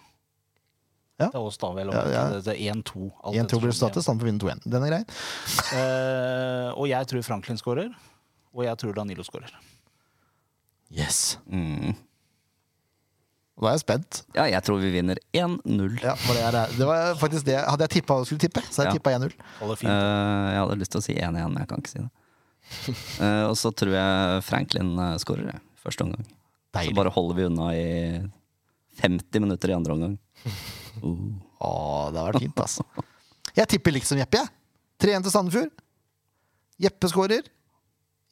[SPEAKER 1] Ja.
[SPEAKER 2] Det er oss, da, vel.
[SPEAKER 1] Ja, ja.
[SPEAKER 2] Det- Det er 1-2. alt
[SPEAKER 1] 1-2 blir
[SPEAKER 2] ettersom.
[SPEAKER 1] status, han får vinne 2-1. Den er grei.
[SPEAKER 2] Eh, og jeg tror Franklin skårer. Og jeg tror Danilo skårer.
[SPEAKER 1] Yes.
[SPEAKER 4] Mm.
[SPEAKER 1] Og da er jeg spent.
[SPEAKER 4] Ja, jeg tror vi vinner 1-0.
[SPEAKER 1] Ja, for det, er, det var faktisk det Hadde jeg tippa hva du skulle tippe, så hadde jeg
[SPEAKER 4] Ja.
[SPEAKER 1] tippa 1-0.
[SPEAKER 2] Alle
[SPEAKER 4] Eh,
[SPEAKER 2] fint.
[SPEAKER 4] jeg hadde lyst til å si 1-1, men jeg kan ikke si det. Eh, og så tror jeg Franklin uh, skårer, jeg. Første omgang. Så
[SPEAKER 1] Deilig.
[SPEAKER 4] bare holder vi unna i 50 minutter i andre omgang. Uh.
[SPEAKER 1] Å, det har vært fint, altså. Jeg tipper liksom Jeppe, jeg. 3-1 til Sandefjord. Jeppe skårer.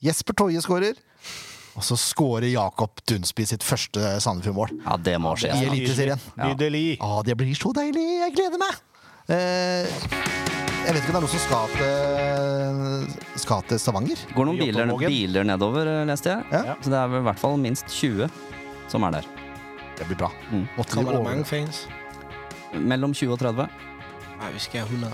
[SPEAKER 1] Jesper Toje skårer. Og så skårer Jakob Dunsby sitt første Sandefjord-mål
[SPEAKER 4] Ja, det må skje. altså.
[SPEAKER 1] i Eliteserien.
[SPEAKER 4] Ja.
[SPEAKER 2] Nydelig.
[SPEAKER 1] Å, det blir så deilig! Jeg gleder meg! Eh, jeg vet ikke om det er noe som skal til, skal til Stavanger.
[SPEAKER 4] Går noen biler,
[SPEAKER 2] Jokkmokk.
[SPEAKER 4] biler nedover, eh, leste jeg.
[SPEAKER 1] Ja.
[SPEAKER 4] Så det er vel i hvert fall minst 20 som er der.
[SPEAKER 1] Det blir bra.
[SPEAKER 4] Mm.
[SPEAKER 1] Måtte de
[SPEAKER 3] Kommer der
[SPEAKER 1] over-
[SPEAKER 3] mange fans?
[SPEAKER 4] Mellom 20 og 30.
[SPEAKER 3] Nei, vi skal ha 100.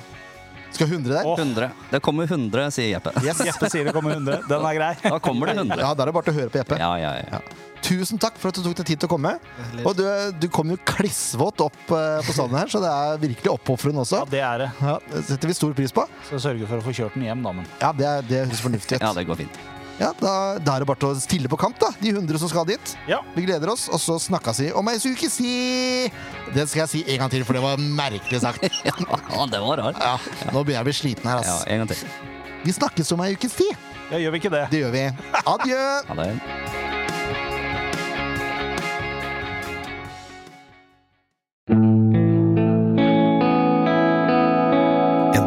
[SPEAKER 1] Skal 100 der?
[SPEAKER 2] Åh.
[SPEAKER 4] 100. Det kommer 100, sier Jeppe.
[SPEAKER 1] Yes.
[SPEAKER 2] Jeppe sier det kommer 100. Den er grei.
[SPEAKER 4] Da kommer det 100.
[SPEAKER 1] Ja, Da er det bare til å høre på Jeppe.
[SPEAKER 4] Ja, ja, ja.
[SPEAKER 1] Tusen takk for at du tok deg tid til å komme.
[SPEAKER 3] Altså,
[SPEAKER 1] Og du, du kom jo klissvåt opp eh, på stadion her, så det er virkelig oppofrende også.
[SPEAKER 2] Ja, det er det.
[SPEAKER 1] Ja, det setter vi stor pris på.
[SPEAKER 2] Så sørge for å få kjørt den hjem, da. Men
[SPEAKER 1] Ja, Det, er- det høres fornuftig
[SPEAKER 4] Ja,
[SPEAKER 1] ut.
[SPEAKER 4] det går fint.
[SPEAKER 1] Ja, da, da er det bare til å stille på kamp, da. De 100 som skal dit.
[SPEAKER 2] ja.
[SPEAKER 1] Vi gleder oss, og så snakkes vi om ei uke, si! Det skal jeg si en gang til, for det var merkelig sagt.
[SPEAKER 4] Ja, det var rart.
[SPEAKER 1] Ja, nå begynner jeg å bli sliten her,
[SPEAKER 4] Ja,
[SPEAKER 1] ass.
[SPEAKER 4] en gang til.
[SPEAKER 1] Vi snakkes om ei ukes tid.
[SPEAKER 2] ja, gjør vi ikke det?
[SPEAKER 1] Det gjør vi. Adjø!
[SPEAKER 4] Ha det.
[SPEAKER 5] En